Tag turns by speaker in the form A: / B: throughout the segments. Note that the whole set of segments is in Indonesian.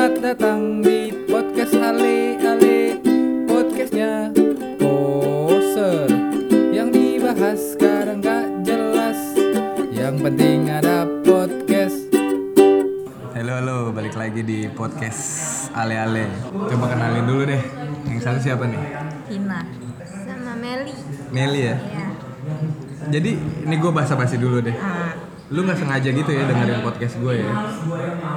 A: datang di podcast Ale Ale Podcastnya poser Yang dibahas sekarang gak jelas Yang penting ada podcast Halo halo, balik lagi di podcast Ale Ale Coba kenalin dulu deh, yang satu siapa nih?
B: Hina sama Meli
A: Meli ya?
B: ya
A: Jadi ini gue basa-basi dulu deh
B: ah
A: Lu gak sengaja gitu ya dengerin podcast gue ya?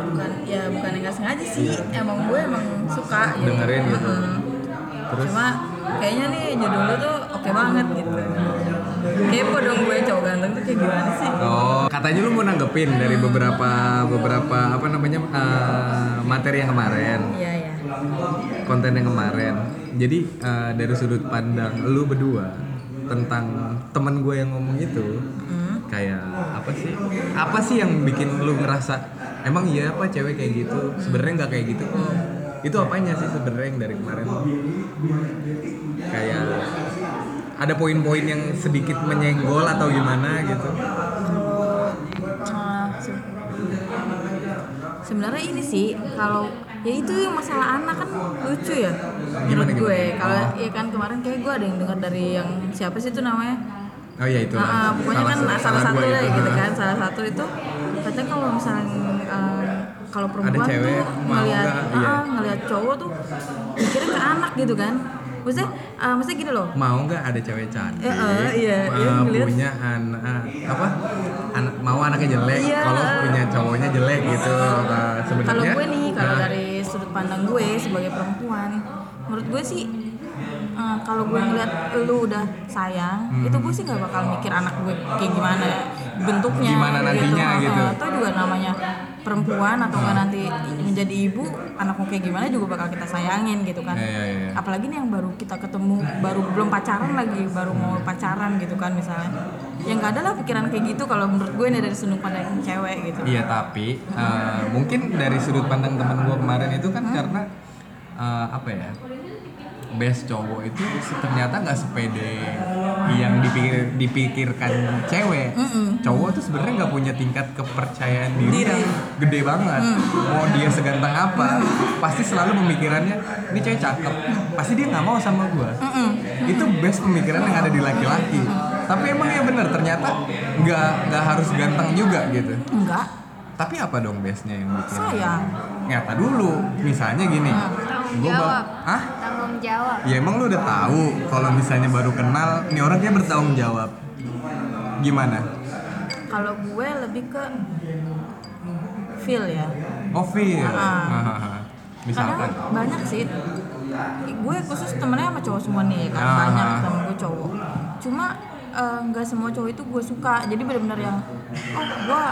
B: bukan ya bukan yang nggak sengaja sih emang gue emang suka gitu.
A: Dengerin gitu.
B: Heeh.
A: Terus?
B: cuma kayaknya nih judulnya tuh oke banget gitu kepo dong gue cowok ganteng tuh kayak gimana sih
A: Oh, katanya lu mau nanggepin dari beberapa beberapa apa namanya eh, materi yang kemarin,
B: iya ya
A: konten yang kemarin. Jadi eh, dari sudut pandang lu berdua tentang teman gue yang ngomong itu,
B: hmm.
A: kayak apa sih? Apa sih yang bikin lu ngerasa emang iya apa cewek kayak gitu? Sebenarnya nggak kayak gitu kok. Itu apanya sih sebenarnya yang dari kemarin? Kayak ada poin-poin yang sedikit menyenggol atau gimana gitu?
B: Ah, se- sebenarnya ini sih kalau ya itu yang masalah anak kan lucu ya
A: Gimana,
B: menurut
A: gimana?
B: gue kalau
A: Oh.
B: ya kan kemarin kayak gue ada yang dengar dari yang siapa sih itu namanya
A: Oh iya itu.
B: Ah, ah, pokoknya kan salah, satu
A: gua
B: lah
A: itu.
B: gitu
A: Ah.
B: kan salah satu itu katanya kalau misalnya eh, kalau perempuan
A: cewek,
B: tuh
A: mau
B: ngelihat
A: nggak,
B: ah,
A: iya.
B: ah, ngelihat cowok tuh mikirnya ke anak gitu kan maksudnya eh, maksudnya gini loh
A: Mau nggak ada cewek cantik?
B: Eh, eh, iya,
A: eh,
B: iya, ngeliat.
A: punya anak apa? Anak mau anaknya jelek.
B: Iya,
A: Kalau
B: eh.
A: punya cowoknya jelek gitu. Nah,
B: kalau
A: sebenarnya.
B: gue nih kalau
A: nah,
B: dari sudut pandang gue sebagai perempuan menurut gue sih eh, kalau gue ngeliat lu udah sayang
A: Hmm.
B: itu gue sih nggak bakal mikir anak gue kayak gimana bentuknya
A: Gimana nantinya
B: Ah,
A: gitu.
B: ah. atau juga namanya perempuan atau nggak nanti menjadi ibu anakmu kayak gimana juga bakal kita sayangin gitu kan
A: Iya, iya, iya.
B: apalagi nih yang baru kita ketemu baru belum pacaran lagi baru mau pacaran gitu kan misalnya yang nggak ada lah pikiran kayak gitu kalau menurut gue nih dari sudut pandang cewek gitu
A: Iya tapi eh, mungkin dari sudut pandang teman gue kemarin itu kan karena eh, apa ya? Best cowok itu ternyata nggak sepede yang dipikir dipikirkan cewek. Cowok tuh sebenarnya nggak punya tingkat kepercayaan diri,
B: Diri.
A: yang gede banget. Mau dia seganteng apa, pasti selalu pemikirannya ini cewek cakep. Pasti dia nggak mau sama gue itu best pemikiran yang ada di laki-laki tapi emang ya bener ternyata nggak nggak harus ganteng juga gitu
B: enggak
A: tapi apa dong bestnya yang bikin
B: Sayang.
A: nyata dulu misalnya gini
B: Ah,
C: Tanggung
A: gua
C: jawab.
A: bak- ah
C: tanggung jawab
A: ya emang lu udah tahu kalau misalnya baru kenal ini orangnya bertanggung jawab gimana
B: Kalau gue lebih ke feel ya.
A: Ovi
B: Ah.
A: Oh, misalkan
B: Kadang banyak sih. Gue khusus temennya sama cowok semua nih, kan
A: Ah.
B: banyak temen gue cowok. Cuma eh, nggak semua cowok itu gue suka. Jadi benar-benar yang oh gue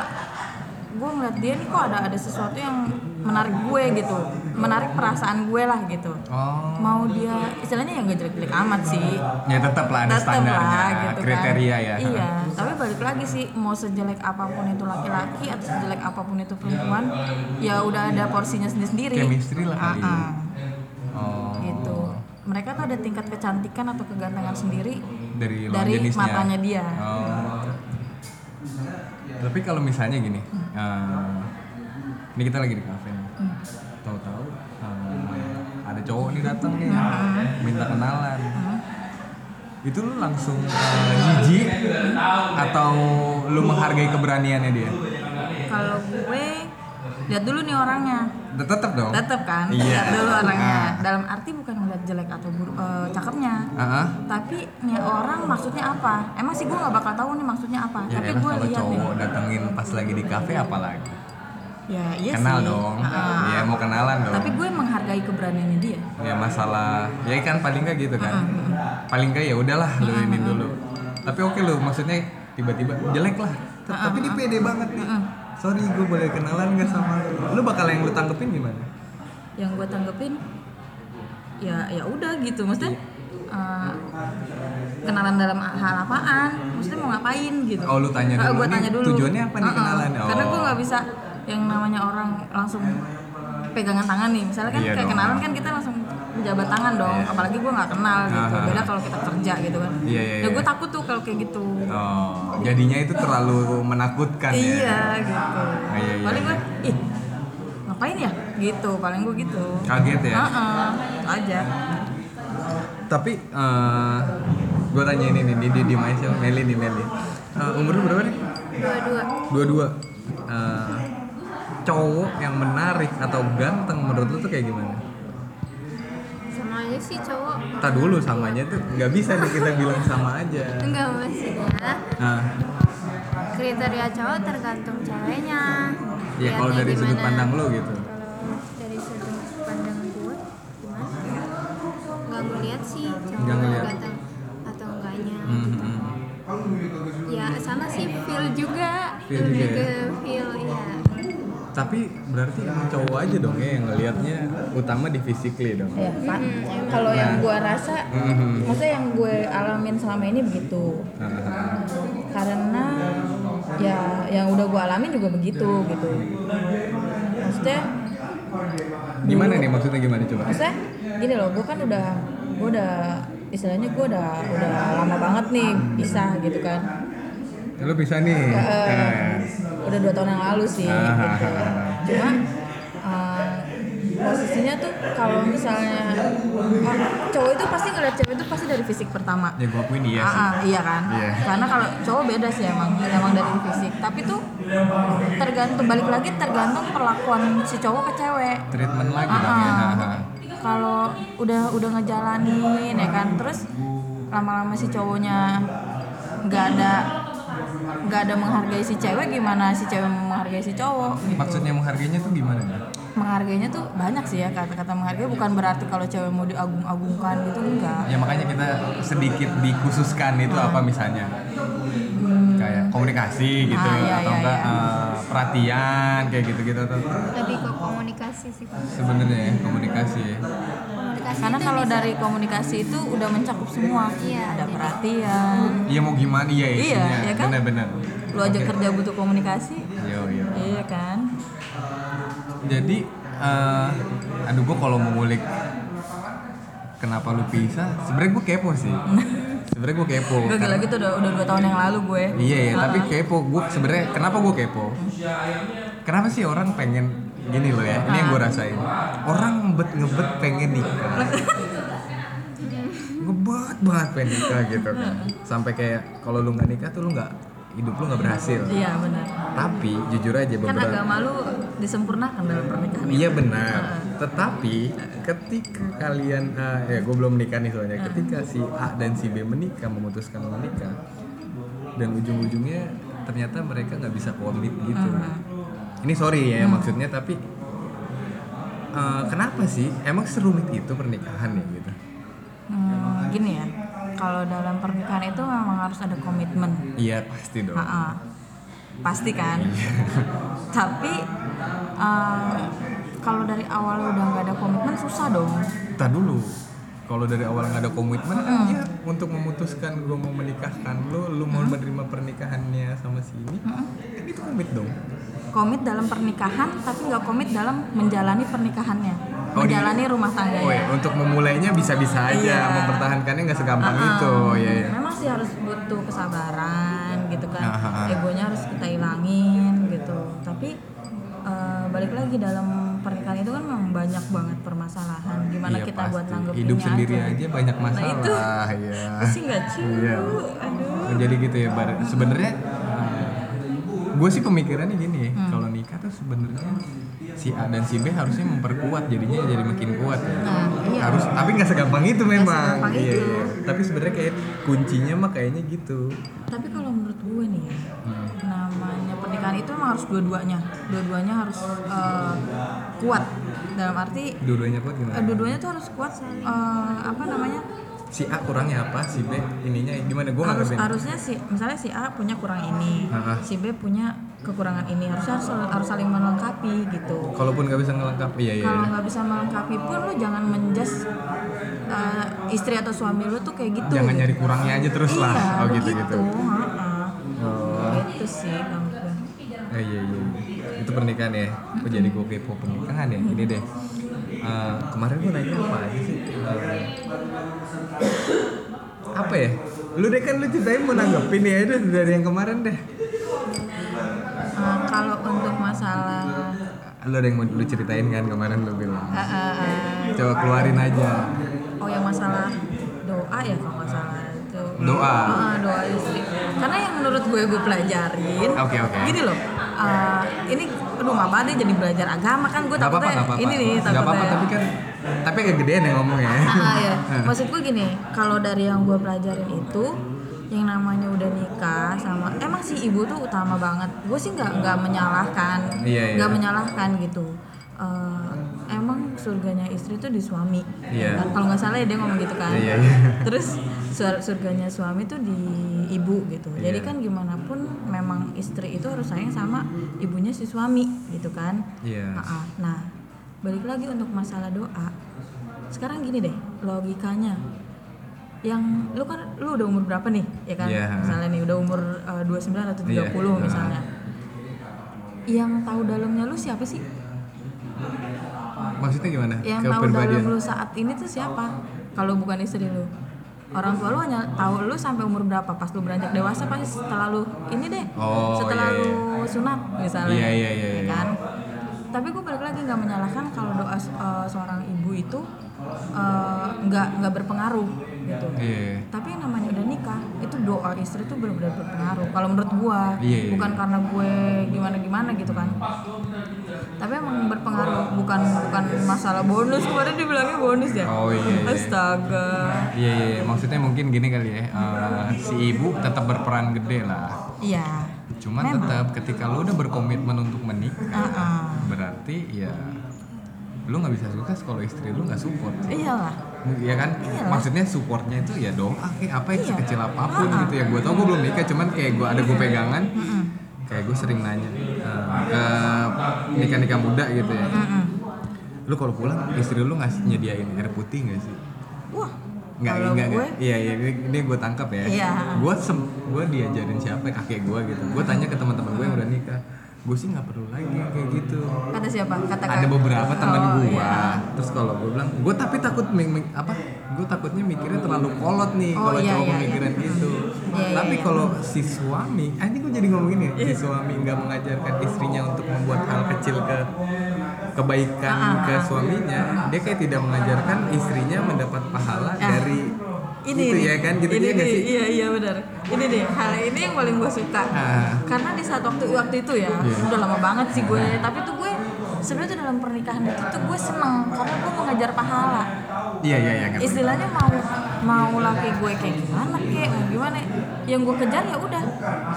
B: gue ngeliat dia nih kok ada ada sesuatu yang menarik gue gitu, menarik perasaan gue lah gitu.
A: oh
B: Mau dia istilahnya yang gak jelek-jelek amat sih,
A: ya tetap lah ada
B: Tetep
A: standarnya
B: lah, gitu kan.
A: kriteria ya
B: iya tapi balik lagi sih mau sejelek apapun itu laki-laki atau sejelek apapun itu perempuan ya udah ada porsinya sendiri-sendiri
A: Chemistry lah kali.
B: Ah-ah,
A: oh
B: gitu mereka tuh ada tingkat kecantikan atau kegantengan sendiri
A: dari lawan
B: dari
A: jenisnya.
B: matanya dia
A: Oh. Tapi kalau misalnya gini, eh, ini kita lagi di kafe nih.
B: Hmm.
A: Tahu-tahu eh, ada cowok nih datang nih,
B: Ah.
A: minta kenalan. Itu lu langsung eh, jijik atau lu menghargai keberaniannya dia?
B: kalau gue lihat dulu nih orangnya
A: Tetap dong.
B: tetep kan
A: Iya.
B: lihat dulu orangnya
A: Ah.
B: dalam arti bukan ngeliat jelek atau buruk eh, cakepnya
A: Ah, ah.
B: tapi nih orang maksudnya apa emang sih gue nggak bakal tahu nih maksudnya apa
A: Ya
B: tapi
A: elah
B: gue
A: kalau
B: lihat nih
A: cowok datengin pas lagi di kafe apalagi.
B: Ya, iya
A: Kenal
B: sih.
A: dong.
B: Ah.
A: Ya mau kenalan dong.
B: Tapi gue menghargai keberaniannya dia.
A: ya masalah ya kan paling nggak gitu kan paling nggak ya udahlah lu ini dulu tapi oke lu maksudnya tiba-tiba jelek lah T- tapi dia pede banget nih sorry gue boleh kenalan nggak sama lu lu bakal yang lu tanggepin gimana
B: Yang gue tanggepin ya ya udah gitu, maksudnya eh, kenalan dalam hal apaan, maksudnya mau ngapain gitu.
A: Oh, lu tanya
B: Ah,
A: dulu
B: Gue
A: nih,
B: tanya dulu.
A: tujuannya apa nih
B: Ah, ah.
A: kenalan?
B: Karena gue
A: Oh.
B: nggak bisa yang namanya orang langsung pegangan tangan nih misalnya kan
A: Iya
B: kayak
A: dong.
B: kenalan kan kita langsung jabat tangan dong
A: Iya.
B: apalagi gue nggak kenal gitu
A: Ah, ah.
B: beda kalau kita kerja gitu kan
A: Iya, iya,
B: ya gue
A: iya.
B: takut tuh kalau kayak gitu
A: oh jadinya itu terlalu menakutkan
B: iya
A: ya
B: gitu
A: iya, iya.
B: paling gue ih ngapain ngapain ya gitu paling gue gitu
A: Kaget ya.
B: Heeh, gitu aja
A: Tapi eh gue tanya ini nih, di di di Maisel, Meli nih Meli. Eh, umur lu berapa nih?
C: dua-dua
A: Dua-dua. Eh, cowok yang menarik atau ganteng menurut lu tuh kayak gimana?
C: sama aja sih cowok
A: Tak dulu samanya tuh nggak bisa nih kita bilang sama aja.
C: enggak maksudnya
A: Nah,
C: kriteria cowok tergantung ceweknya
A: ya kalau
C: Lihatnya
A: dari sudut
C: gimana.
A: pandang lu gitu.
C: kalau dari sudut pandang gue gimana nggak gue lihat sih cowok
A: Nggak ngeliat.
C: ganteng atau enggaknya
A: Hmm, hmm, hmm.
C: ya sama sih feel juga
A: Feel
C: lebih
A: juga
C: ke
A: ya?
C: feel ya
A: Tapi berarti emang cowok aja dong ya yang ngelihatnya utama di physically dong.
B: ya pak kalau yang gue rasa
A: Mhm.
B: maksudnya yang gue alamin selama ini begitu
A: Ah,
B: karena ya yang udah gue alamin juga begitu gitu maksudnya
A: Gimana nih maksudnya gimana coba?
B: maksudnya gini loh gue kan udah gue udah istilahnya gue udah udah lama banget nih pisah gitu kan
A: Lu bisa nih.
B: Eh,
A: Eh.
B: udah dua tahun yang lalu sih
A: Ah.
B: gitu cuma eh, posisinya tuh kalau misalnya ah, cowok itu pasti ngeliat cewek itu pasti dari fisik pertama
A: Ya gue akuin iya sih.
B: Ah, ah, iya kan?
A: Iya.
B: Karena kalau cowok beda sih emang, emang dari fisik. Tapi tuh tergantung balik lagi tergantung perlakuan si cowok ke cewek.
A: Treatment lagi dong ya.
B: Ah, ah. Kalau udah udah ngejalanin ya kan, terus lama-lama si cowoknya nggak ada nggak ada menghargai si cewek gimana si cewek mau menghargai si cowok gitu.
A: Maksudnya menghargainya tuh gimana? nih?
B: menghargainya tuh banyak sih ya kata-kata menghargai bukan berarti kalau cewek mau diagung-agungkan gitu enggak
A: Ya makanya kita sedikit dikhususkan itu apa misalnya? Kayak komunikasi gitu
B: Ah, iya,
A: atau
B: iya,
A: enggak
B: iya.
A: eh, perhatian kayak gitu-gitu atau
C: lebih ke komunikasi sih
A: sebenarnya ya komunikasi. ya.
C: komunikasi
B: karena kan-
C: itu
B: kalau
C: bisa-
B: dari komunikasi itu udah mencakup semua
C: Iya,
B: ada
C: jadi-
B: perhatian
A: Iya mau gimana iya
B: Iya,
A: isinya.
B: iya kan?
A: Benar-benar.
B: lu aja
A: Oke.
B: kerja butuh komunikasi
A: Iya, iya.
B: iya kan
A: Jadi eh aduh gue kalau mengulik kenapa lu pisah, sebenarnya gue kepo sih. sebenarnya gue kepo.
B: gue
A: karena-
B: gila gitu udah udah dua tahun yang lalu gue
A: Iya ya,
B: Heeh.
A: tapi kepo. Gue sebenarnya kenapa gue kepo? Kenapa sih orang pengen gini loh ya? Ini yang gue rasain. Orang ngebet ngebet pengen nikah. ngebet banget pengen nikah gitu kan. Sampai kayak kalau lu nggak nikah tuh lu nggak hidup lu nggak berhasil.
B: iya benar
A: Tapi jujur aja
B: kan
A: beberapa.
B: agama lu disempurnakan dalam pernikahan
A: Iya benar. Tetapi ketika kalian eh, ya gue belum menikah nih soalnya. Ketika si A dan si B menikah memutuskan menikah dan ujung-ujungnya ternyata mereka nggak bisa komit gitu. Ini sorry ya maksudnya tapi eh, kenapa sih emang serumit itu pernikahan ya gitu?
B: Hmm, gini ya kalau dalam pernikahan itu memang harus ada komitmen
A: Iya pasti dong.
B: Ha-ha. Pasti kan. Tapi eh, kalau dari awal udah nggak ada komitmen susah dong.
A: Kita dulu. Kalau dari awal nggak ada komitmen, ya untuk memutuskan gue mau menikahkan lo, lo mau menerima pernikahannya sama si ini, kan itu komit dong.
B: Komit dalam pernikahan tapi nggak komit dalam menjalani pernikahannya,
A: Oh, di-
B: menjalani rumah
A: Oh ya,
B: tangganya.
A: untuk memulainya bisa-bisa aja,
B: Iya. Ah,
A: mempertahankannya nggak segampang itu, ya ya.
B: Memang sih harus butuh kesabaran gitu kan.
A: Ha-ha.
B: Egonya harus kita ilangin gitu. Tapi eh, balik lagi dalam pernikahan itu kan memang banyak banget permasalahan. Gimana
A: Iya,
B: kita buat
A: pasti.
B: nanggepinnya
A: Hidup sendiri
B: aja. Nah,
A: aja, banyak
B: itu.
A: masalah, ya.
B: Pusing nggak cu?
A: Iya.
B: Aduh.
A: Jadi gitu ya, Bar. sebenarnya gue sih pemikirannya gini ya,
B: Hmm.
A: kalau nikah tuh sebenarnya si A dan si B harusnya memperkuat jadinya jadi makin kuat ya.
B: Nah, iya.
A: Harus, tapi nggak segampang itu memang.
B: segampang
A: Iya,
B: itu.
A: iya. Tapi sebenarnya kayak kuncinya mah kayaknya gitu.
B: Tapi kalau menurut gue nih ya,
A: Hmm.
B: namanya pernikahan itu emang harus dua-duanya. Dua-duanya harus eh, kuat. Dalam arti
A: Dua-duanya kuat gimana?
B: eh, dua-duanya tuh harus kuat eh, apa namanya?
A: Si A kurangnya apa, si B ininya gimana? Gue nggak
B: Harus
A: ngerti.
B: harusnya si misalnya si A punya kurang ini,
A: Ah, ah.
B: si B punya kekurangan ini. Harusnya harus harus saling melengkapi gitu.
A: Kalaupun nggak bisa ngelengkapi, ya ya.
B: kalau nggak bisa melengkapi pun lu jangan menjas eh, istri atau suami lu tuh kayak gitu
A: jangan nyari kurangnya aja terus lah
B: iya,
A: oh gitu
B: begitu.
A: gitu
B: ha-ha.
A: oh
B: gitu sih kalau gue.
A: eh, iya iya iya. itu pernikahan ya kok jadi gue kepo pernikahan ya ini deh Eh, kemarin gue nanya apa aja sih Eh, apa ya lu deh kan lu ceritanya mau nanggepin ya itu dari yang kemarin deh
B: Eh, kalau untuk masalah
A: lu ada yang mau lu ceritain kan kemarin lu bilang
B: Ah, ah, ah.
A: coba keluarin aja
B: oh yang masalah doa ya kalau nggak salah itu
A: Doa.
B: Ah, doa istri karena yang menurut gue gue pelajarin
A: Oke, oke.
B: gini loh eh, ini aduh apa deh jadi belajar agama kan gue
A: nggak apa-apa
B: takutnya
A: nggak apa-apa
B: ini nih
A: nggak apa-apa tapi
B: takutnya
A: kan tapi agak gedean yang ngomong ya
B: Ah, ah, ya. maksud gue gini kalau dari yang gue pelajarin itu yang namanya udah nikah sama emang si ibu tuh utama banget gue sih nggak nggak menyalahkan
A: Iya, iya.
B: nggak menyalahkan gitu Eh, emang surganya istri tuh di suami
A: Iya.
B: Kan kalau nggak salah ya dia ngomong gitu kan
A: Iya, iya.
B: terus sur- surganya suami tuh di ibu gitu jadi
A: Iya.
B: kan gimana pun memang istri itu harus sayang sama ibunya si suami gitu kan
A: Iya.
B: Ah, ah. nah balik lagi untuk masalah doa sekarang gini deh logikanya yang lu kan lu udah umur berapa nih ya kan
A: Iya.
B: misalnya nih udah umur eh, 29 atau 30
A: Iya, iya.
B: misalnya yang tahu dalamnya lu siapa sih
A: maksudnya gimana
B: yang tahu dalam lu saat ini tuh siapa kalau bukan istri lu orang tua lu hanya tahu lu sampai umur berapa pas lu beranjak dewasa pasti setelah lu ini deh
A: Oh,
B: setelah
A: iya, iya.
B: lu sunat misalnya
A: Iya, iya, iya,
B: ya
A: iya.
B: kan tapi gue balik lagi nggak menyalahkan kalau doa se- eh, seorang ibu itu eh, nggak nggak berpengaruh gitu
A: iya
B: tapi yang namanya udah nikah itu doa istri tuh belum benar berpengaruh kalau menurut gua
A: Iya, iya.
B: bukan karena gue gimana gimana gitu kan tapi emang berpengaruh bukan bukan masalah bonus kemarin dibilangnya bonus ya
A: Oh, iya, iya.
B: astaga
A: Iya, iya, iya. maksudnya mungkin gini kali ya, eh, si ibu tetap berperan gede lah.
B: iya
A: Cuman tetap ketika lu udah berkomitmen untuk menikah,
B: Ah-ah.
A: berarti ya lu nggak bisa sukses kalau istri lu nggak support.
B: iyalah
A: Iya kan?
B: Iya.
A: Maksudnya supportnya itu ya doa kayak apa yang
B: Iya.
A: sekecil apapun
B: Ah-ah.
A: gitu ya. Gue tau gue belum nikah, cuman kayak gue ada gue pegangan. Kayak gue sering nanya eh, ke nikah-nikah muda gitu ya.
B: Mm-mm.
A: Lu kalau pulang istri lu nggak nyediain air putih nggak sih?
B: wah
A: Nggak,
B: kalau
A: enggak,
B: gue
A: enggak. Iya, iya, ini, ini gue tangkap ya.
B: Iya.
A: Gue sem, gue diajarin siapa kakek gue gitu. Gue tanya ke teman-teman gue yang udah nikah. Gue sih nggak perlu lagi kayak gitu.
B: kata siapa kata
A: Ada beberapa teman
B: Oh,
A: gue.
B: iya.
A: Terus kalau gue bilang, gue tapi takut ming- ming- apa? Gue takutnya mikirnya terlalu kolot nih
B: Oh,
A: kalau
B: iya,
A: cowok
B: iya,
A: pemikiran
B: iya.
A: gitu.
B: Iya, iya,
A: tapi
B: iya.
A: kalau si suami, ah, ini gue jadi ngomongin ya, si suami nggak mengajarkan istrinya untuk membuat hal kecil ke kebaikan
B: Ah, ah,
A: ke
B: ah.
A: suaminya, dia kayak tidak mengajarkan istrinya mendapat pahala
B: Ah.
A: dari
B: ini
A: gitu
B: nih.
A: ya kan gitu
B: ini
A: ya nggak
B: nih,
A: sih
B: iya iya benar ini nih hal ini yang paling gue suka
A: Ah. Iya.
B: karena di saat waktu waktu itu ya udah lama banget sih gue tapi tuh gue sebenarnya tuh dalam pernikahan itu tuh gue seneng karena gue mengajar pahala
A: iya iya iya ngerti.
B: istilahnya mau mau laki gue kayak gimana kek mau gimana yang gue kejar ya udah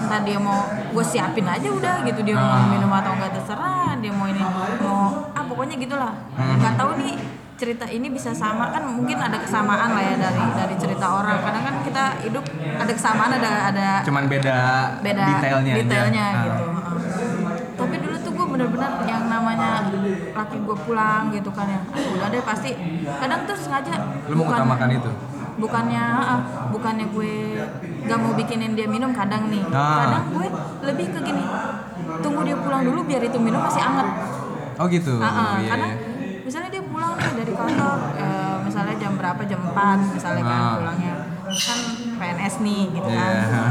B: entah dia mau gue siapin aja udah gitu dia
A: Ah.
B: mau minum atau enggak terserah dia mau ini mau ah pokoknya gitulah nggak tahu nih cerita ini bisa sama kan mungkin ada kesamaan lah ya dari dari cerita orang karena kan kita hidup ada kesamaan ada ada
A: cuman beda,
B: beda
A: detailnya aja.
B: detailnya
A: Ah.
B: gitu heeh. tapi dulu tuh gue bener-bener yang namanya laki gue pulang gitu kan ya "Ah, udah deh pasti kadang tuh sengaja
A: lu mau
B: bukan-
A: utamakan itu
B: bukannya ah, bukannya gue gak mau bikinin dia minum kadang nih
A: Ah.
B: kadang gue lebih ke gini tunggu dia pulang dulu biar itu minum masih anget
A: oh gitu
B: Ah, ah,
A: iya
B: karena
A: iya
B: misalnya dia pulang nih dari kantor eh, misalnya jam berapa jam 4 misalnya kan
A: Ah.
B: pulangnya kan PNS nih gitu kan
A: Iya.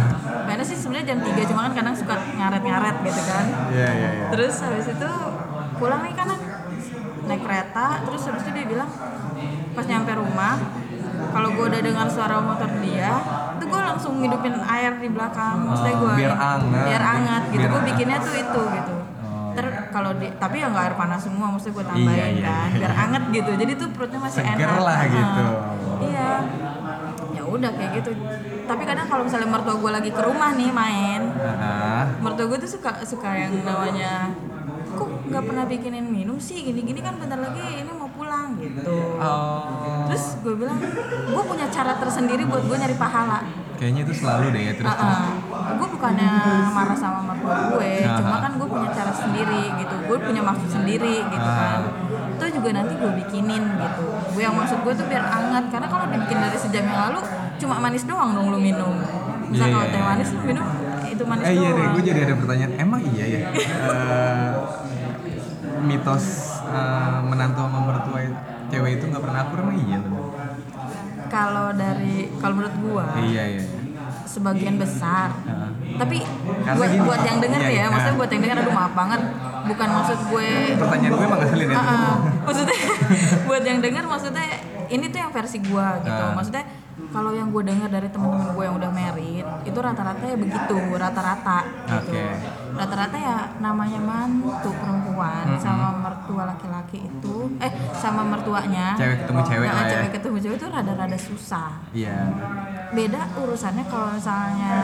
B: PNS sih sebenarnya jam 3 cuma kan kadang suka ngaret-ngaret gitu kan
A: iya iya iya
B: terus habis itu pulang nih kan naik kereta terus habis itu dia bilang pas nyampe rumah kalau gue udah dengar suara motor dia itu gue langsung ngidupin air di belakang maksudnya
A: Oh,
B: gue
A: biar anget.
B: biar anget gitu
A: Biar
B: gue
A: anget.
B: bikinnya tuh itu gitu
A: Oh.
B: ter kalau di- tapi ya nggak air panas semua maksudnya gue tambahin
A: Iya, iya,
B: kan
A: iya.
B: biar anget gitu jadi tuh perutnya masih
A: Seger
B: enak
A: lah
B: Ah.
A: gitu.
B: iya ya udah kayak gitu tapi kadang kalau misalnya mertua gue lagi ke rumah nih main
A: Ah.
B: mertua gue tuh suka suka yang namanya kok nggak pernah bikinin minum sih gini gini kan bentar lagi ini mau pulang gitu
A: Oh.
B: terus gue bilang gue punya cara tersendiri buat gue nyari pahala
A: kayaknya itu selalu deh ya terus
B: Ah,
A: terus
B: gue bukannya marah sama mertua gue cuma
A: Aha.
B: kan gue punya cara sendiri gitu gue punya maksud sendiri gitu kan itu juga nanti gue bikinin gitu gue yang maksud gue tuh biar anget karena kalau dibikin dari sejam yang lalu cuma manis doang dong lu minum misal
A: Iya,
B: kalau
A: iya,
B: teh
A: iya.
B: manis lu minum itu manis
A: eh iya deh
B: doang
A: gue jadi ada pertanyaan emang iya ya Eh, mitos eh, menantu sama mertua itu- cewek itu nggak pernah akur emang iya loh
B: Ah. kalau dari kalau menurut gua
A: iya iya
B: sebagian besar
A: Ah.
B: tapi
A: Karena
B: buat,
A: gini.
B: buat yang denger
A: Iya,
B: nih ya
A: iya.
B: maksudnya buat yang denger aduh maaf banget bukan maksud gue
A: Pertanyaan gue emang ngeselin ya.
B: Ah, ah. maksudnya buat yang denger maksudnya ini tuh yang versi gue gitu
A: Ah.
B: maksudnya kalau yang gue dengar dari temen-temen gue yang udah married itu rata-rata ya begitu rata-rata gitu
A: Oke.
B: rata-rata ya namanya mantu perempuan sama mertua laki-laki itu eh sama mertuanya
A: Cewek ketemu cewek
B: Nah,
A: lah ya.
B: cewek Oh, ketemu cewek itu rada-rada susah
A: Iya.
B: beda urusannya kalau misalnya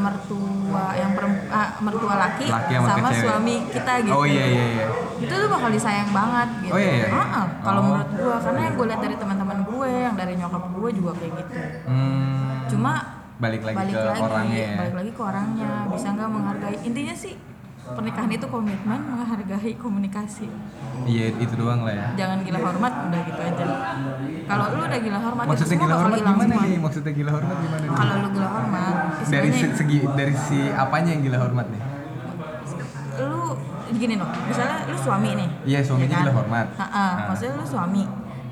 B: mertua yang peremp- ah, mertua laki,
A: Laki sama
B: sama,
A: ke cewek.
B: suami kita gitu
A: Oh iya iya iya.
B: itu tuh bakal disayang banget gitu
A: Oh, iya, iya.
B: Ah, kalau
A: Oh.
B: menurut gue karena yang gue lihat dari teman-teman gue yang dari nyokap gue juga kayak gitu
A: Hmm,
B: cuma
A: balik lagi
B: balik
A: ke
B: lagi
A: orangnya ya.
B: balik lagi ke orangnya bisa nggak menghargai intinya sih pernikahan itu komitmen menghargai komunikasi
A: Iya itu doang lah ya.
B: jangan gila hormat udah gitu aja kalau lu udah gila hormat itu
A: Maksudnya
B: semua
A: gila
B: bakal
A: hormat
B: hilang
A: gimana
B: semua.
A: nih? Maksudnya gila hormat gimana nih?
B: kalau lu gila hormat
A: Dari se-
B: istilahnya-
A: segi dari si apanya yang gila hormat nih?
B: lu gini loh misalnya lu suami nih
A: Iya, suaminya
B: Ya
A: gila
B: kan?
A: hormat.
B: Ha-ha,
A: Ah.
B: maksudnya lu suami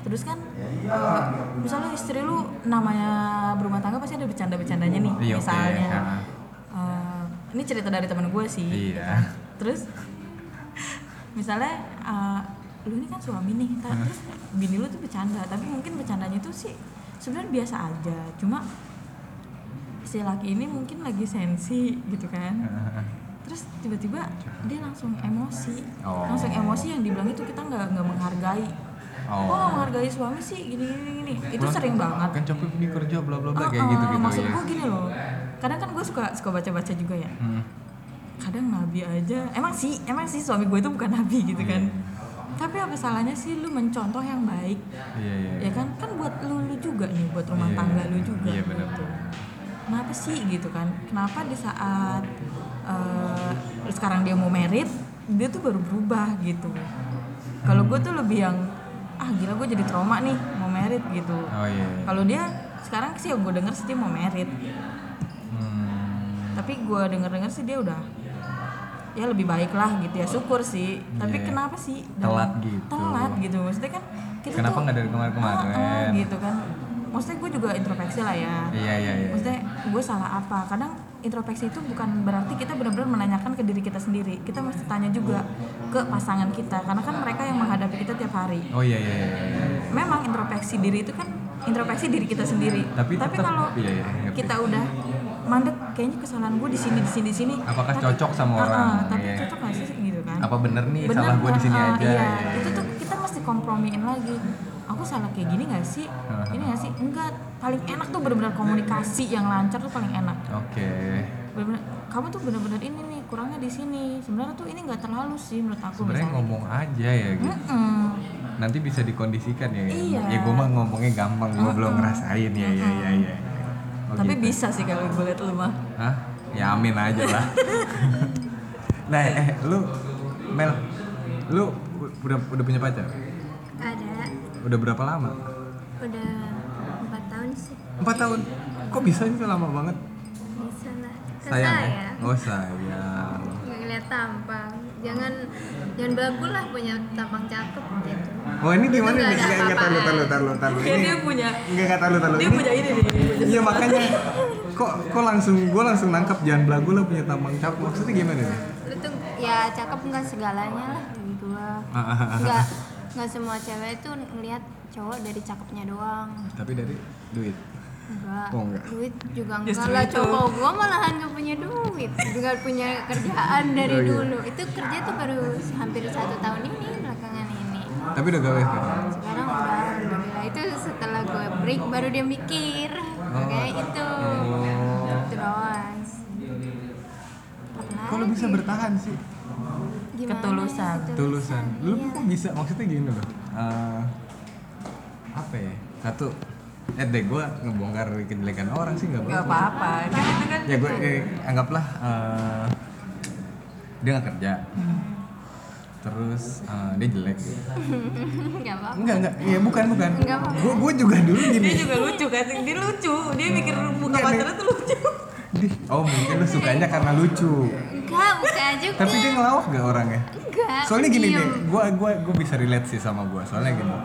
B: terus kan eh, misalnya istri lu namanya berumah tangga pasti ada bercanda bercandanya nih
A: Iya, oke,
B: misalnya
A: ha-ha.
B: Eh, ini cerita dari temen gue sih
A: Iya.
B: ya kan? terus misalnya eh, lu ini kan suami nih ta- terus bini lu tuh bercanda tapi mungkin bercandanya tuh sih sebenarnya biasa aja cuma si laki ini mungkin lagi sensi gitu kan terus tiba-tiba dia langsung emosi
A: Oh.
B: langsung emosi yang dibilang itu kita nggak nggak menghargai
A: Oh.
B: oh. nggak menghargai suami sih gini gini gini itu
A: Pulang,
B: sering banget
A: Kan capek ini kerja bla bla bla kayak
B: Uh-uh,
A: gitu gitu
B: maksud
A: ya.
B: gue gini loh kadang kan gue suka suka baca baca juga ya
A: Hmm.
B: kadang nabi aja emang sih emang sih suami gue itu bukan nabi gitu kan tapi apa salahnya sih lu mencontoh yang baik
A: Iya iya.
B: ya kan kan buat lu, lu juga nih buat rumah
A: Iya,
B: tangga lu
A: iya.
B: juga
A: Iya, benar.
B: gitu. kenapa sih gitu kan kenapa di saat eh, sekarang dia mau merit dia tuh baru berubah gitu kalau gue tuh lebih yang ah gila gue jadi trauma nih mau merit gitu
A: Oh iya. iya.
B: kalau dia sekarang sih yang gue denger sih dia mau merit
A: Hmm.
B: tapi gue denger denger sih dia udah ya lebih baik lah gitu ya syukur sih tapi
A: Iya.
B: kenapa sih
A: Telat
B: dalam-
A: gitu.
B: telat gitu maksudnya kan kita
A: Kenapa
B: tuh-
A: nggak dari kemarin-kemarin?
B: Ah, ah, gitu kan maksudnya gue juga introspeksi lah ya
A: Iya iya iya.
B: maksudnya gue salah apa kadang introspeksi itu bukan berarti kita benar-benar menanyakan ke diri kita sendiri kita mesti tanya juga ke pasangan kita karena kan mereka yang menghadapi kita tiap hari
A: Oh iya iya. iya, iya.
B: memang introspeksi diri itu kan introspeksi diri kita sendiri
A: Tapi tetap-
B: kalau
A: iya, iya, ngerti.
B: kita udah mandek kayaknya kesalahan gue di sini di sini di sini
A: Apakah
B: Tapi-
A: cocok sama
B: Ah, ah,
A: orang,
B: tapi
A: iya.
B: cocok gak sih gitu kan
A: Apa bener nih
B: Bener
A: salah gue di
B: nggak?
A: sini
B: Ah,
A: aja?
B: iya.
A: Iya, iya,
B: itu tuh
A: iya.
B: kita mesti kompromiin lagi aku salah kayak gini gak sih ini gak sih enggak paling enak tuh benar-benar komunikasi yang lancar tuh paling enak
A: Oke.
B: benar kamu tuh benar-benar ini nih kurangnya di sini sebenarnya tuh ini nggak terlalu sih menurut aku
A: Sebenarnya
B: misalnya.
A: ngomong aja ya gitu.
B: Mm-mm.
A: Nanti bisa dikondisikan ya. ya.
B: Iya. Ah,
A: Ya gue mah ngomongnya gampang, gue belum ngerasain ya ya ya ya. Oh,
B: tapi
A: gitu.
B: bisa sih kalau gue liat lu mah
A: Hah? Ya amin aja lah. nah, eh, lu Mel, lu u- udah udah punya pacar?
C: Ada
A: Udah berapa lama?
C: udah empat tahun sih
A: Empat tahun. Kok bisa sih lama banget?
C: bisa lah. Kan
A: Sayang ya?
C: saya
A: Oh sayang.
C: nggak ngeliat tampang. Jangan jangan belagu lah punya tampang cakep gitu.
A: Wah Oh, ini gimana
C: Nggak
A: nih?
C: ada
A: Nggak nggak tahu
C: apa-apaan.
A: tahu tahu tahu.
B: Kayak dia punya
A: Nggak nggak tahu tahu.
B: dia punya ini nih punya
A: Iya
B: sesuatu.
A: makanya kok kok langsung gue langsung nangkap jangan belagu lah punya tampang cakep maksudnya gimana nih?
C: Lu tuh ya cakep nggak segalanya lah bagi gua.
A: Ah, ah, ah,
C: Nggak nggak semua cewek tuh ngeliat cowok dari cakepnya doang.
A: Tapi dari duit.
C: Enggak.
A: Oh, enggak.
C: Duit juga enggak
B: Justru
C: lah
B: itu.
C: cowok gua malahan gak punya duit. Juga punya kerjaan dari
A: Oh, iya.
C: dulu. Itu kerja tuh baru hampir satu tahun ini belakangan ini.
A: Tapi udah gawe sekarang.
C: Sekarang udah alhamdulillah itu setelah gue break baru dia mikir. Kayak itu.
A: Oh.
C: Itu doang. Pernah
A: Kok lu bisa
C: sih.
A: bertahan sih?
C: Gimana
B: Ketulusan.
C: ya,
A: Tulusan. Lu
C: Iya.
A: kok bisa? Maksudnya gini loh. eh, apa ya? Satu. Eh deh gue ngebongkar kejelekan orang sih nggak
B: nggak
A: apa-apa.
B: apa-apa kan itu kan
A: Ya gue anggaplah eh, dia nggak kerja. Terus eh, dia jelek. gitu.
C: Nggak apa-apa.
A: Enggak enggak. Ya bukan bukan.
C: Nggak apa-apa.
A: Gue gue juga dulu gini.
B: dia juga lucu kan dia lucu dia mikir buka
A: Nggak,
B: pacarnya tuh lucu
A: Di- Oh mungkin lu sukanya karena lucu.
C: Enggak, bukan juga.
A: Tapi dia ngelawak gak orangnya?
C: Enggak,
A: Soalnya gini
C: pendiam.
A: nih, gue gua gua bisa relate sih sama gue. Soalnya gini,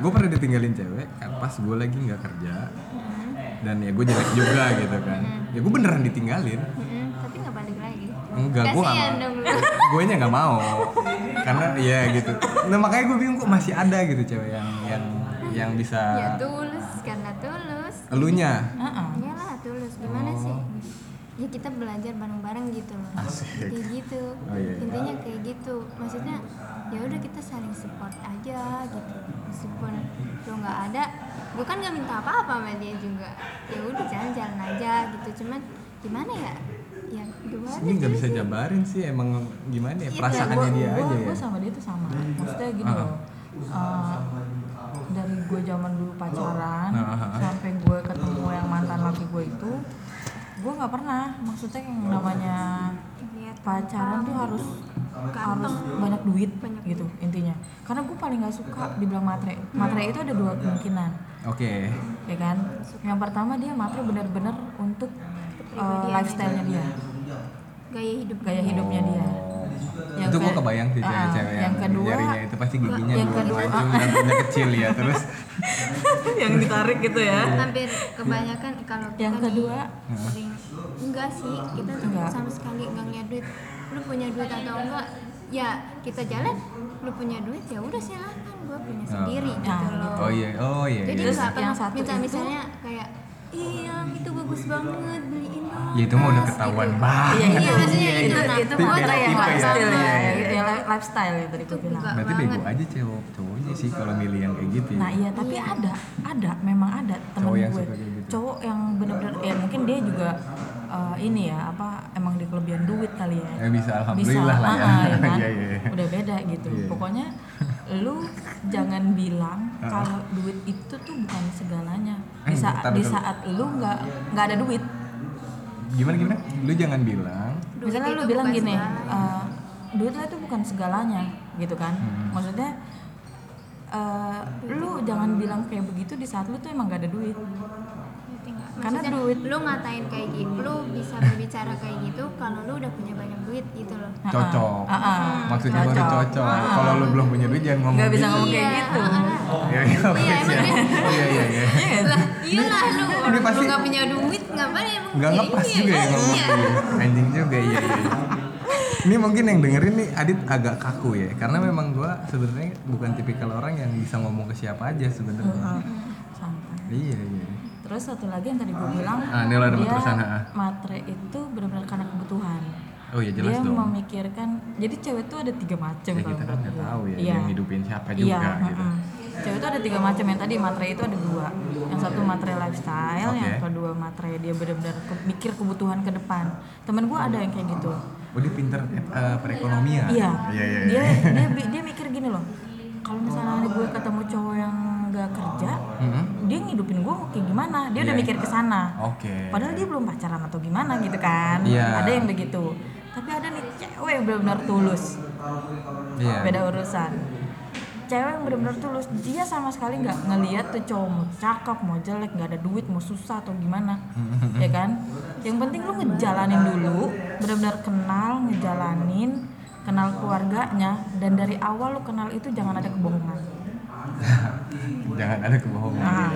A: gue pernah ditinggalin cewek kan pas gue lagi nggak kerja dan ya gue jelek juga gitu kan. Ya gue beneran ditinggalin.
C: Mm-mm.
A: Enggak, gue
C: Kasihan
A: gak
C: dong lu.
A: Gue nya gak mau Karena ya gitu Nah makanya gue bingung kok masih ada gitu cewek yang Yang yang bisa
C: ya tulus karena tulus
A: Elunya
B: Heeh.
C: iyalah Iya tulus gimana sih
A: Oh.
C: ya kita belajar bareng-bareng gitu loh
A: Asik.
C: kayak gitu
A: Oh, iya, iya.
C: intinya kayak gitu maksudnya ya udah kita saling support aja gitu meskipun lo nggak ada gue kan nggak minta apa-apa sama dia juga ya udah jalan-jalan aja gitu cuman gimana ya ya gimana
A: Ini gak
C: sih?
A: bisa jabarin sih emang gimana ya
C: Iya,
A: Perasaannya dia aja ya
B: Gue sama dia tuh sama. Maksudnya gini
A: Ah.
B: loh. eh, dari gue zaman dulu pacaran
A: Ah, ah, ah.
B: sampai gue ketemu yang mantan laki gue itu, gue nggak pernah. Maksudnya yang namanya
C: Lihat
B: pacaran tuh harus harus banyak duit gitu intinya. Karena gue paling nggak suka dibilang matre. Matre itu ada dua kemungkinan,
A: Oke
B: ya kan? Yang pertama dia matre benar-benar untuk eh,
C: Kepribadian
B: lifestyle-nya dia,
C: gaya hidup
B: gaya hidupnya dia. Yang
A: itu gue
B: ke-
A: kebayang sih
B: Ah,
A: cewek-cewek
B: yang
A: yang,
B: kedua-
A: jarinya itu pasti giginya
B: yang
A: dua
B: kedua-
A: mancung dan punya kecil ya terus
B: yang ditarik gitu ya.
C: hampir kebanyakan kalau kita
B: Yang
C: nih
B: kedua?
C: sering enggak sih kita
B: Enggak.
C: sama sekali enggak ngeliat duit lu punya duit atau enggak ya kita jalan lu punya duit ya udah silakan gua punya sendiri
B: Nah,
C: gitu loh
A: oh iya oh iya
C: jadi
A: iya.
B: Terus
C: nggak pernah
B: yang satu
C: minta
B: itu-
C: misalnya kayak iya itu bagus banget beliin dong
A: ya itu mah udah
C: Mas,"
A: ketahuan
B: Iya,
C: gitu.
A: banget
B: iya,
C: maksudnya
B: itu,
C: itu, nah,
B: itu
C: tipe-
B: matre yang
C: tipe ya,
B: lifestyle
C: iya,
B: ya,
A: iya,
B: itu yang li- lifestyle yang tadi gue
C: Itu
B: bilang.
C: juga.
A: berarti bego
C: banget.
A: aja cowok cowoknya sih kalau milih yang kayak gitu ya.
B: Nah iya, tapi ada, ada, memang ada temen
A: Cowok yang
B: gue,
A: suka kayak gitu.
B: cowok yang bener-bener, ya mungkin dia juga eh, ini ya, apa emang di kelebihan duit kali ya.
A: Ya, bisa, alhamdulillah lah ya.
B: ah, ah, kan?
A: Iya, iya, iya.
B: Udah beda gitu.
A: Iya, iya.
B: Pokoknya lu jangan bilang kalau duit itu tuh bukan segalanya. Di
A: Eh,
B: saat
A: bentar
B: di
A: dulu.
B: saat lu nggak nggak ada duit,
A: gimana gimana lu jangan bilang
C: Duit
B: misalnya
C: itu
B: lu bilang
C: bukan
B: gini
C: segalanya.
B: "Eh, duit lo itu bukan segalanya gitu kan
A: Hmm.
B: maksudnya eh, lu jangan bilang kayak begitu di saat lu tuh emang gak ada duit
C: Ngerti nggak?
B: Karena
C: Maksudnya,
B: duit-
C: lu ngatain kayak gitu lu bisa berbicara kayak gitu kalau lu udah punya banyak duit gitu loh
A: cocok
B: Ah, ah.
A: maksudnya baru
B: Cocok.
A: cocok kalau lu belum punya duit jangan ngomong
B: Gak bisa
A: gitu.
B: ngomong kayak
C: Iya,
B: gitu
C: ah, ah.
A: iya iya oke,
C: Iya, emang
A: siap. iya iya iya
C: lah iyalah lu
A: Ini
C: orang
A: pasti-
C: lu gak punya Ya, duit ngapain emang
B: Iya,
A: nggak ngepas juga ya ngomong
C: iya
A: gitu. anjing juga iya, iya. iya. ini mungkin yang dengerin nih Adit agak kaku ya karena memang gua sebenarnya bukan tipikal orang yang bisa ngomong ke siapa aja sebenarnya
B: santai
A: iya iya
B: terus satu lagi yang tadi gue bilang
A: Ah, ini lo ada terusan, ah, ah.
B: matre itu benar-benar karena kebutuhan
A: oh iya jelas
B: dia
A: dong
B: memikirkan jadi cewek tuh ada tiga macam
A: ya
B: kalau
A: kita kan
B: menurut
A: nggak
B: gue.
A: tahu ya
B: Iya.
A: yang hidupin siapa juga gitu
B: heeh. Hmm. Cewek itu ada tiga macam yang tadi matre itu ada dua. Yang satu matre lifestyle, yang
A: Oke.
B: kedua matre dia benar-benar ke- mikir kebutuhan ke depan. Temen gue ada yang kayak gitu.
A: Oh dia pinter eh, perekonomian.
B: Iya.
A: Iya iya.
B: Dia
A: iya.
B: dia bi- dia mikir gini loh. Kalau misalnya gue ketemu cowok yang nggak kerja,
A: Mhm.
B: dia ngidupin gue kayak gimana? Dia udah
A: Iya.
B: mikir ke sana.
A: Oke.
B: Padahal dia belum pacaran atau gimana gitu kan.
A: Iya.
B: Ada yang begitu. Tapi ada nih cewek yang benar-benar tulus.
A: Iya.
B: beda urusan cewek yang bener-bener tulus dia sama sekali nggak ngeliat tuh cowok mau cakep mau jelek nggak ada duit mau susah atau gimana ya kan yang penting lu ngejalanin dulu bener-bener kenal ngejalanin kenal keluarganya dan dari awal lu kenal itu jangan ada kebohongan
A: Jangan ada kebohongan.
B: nah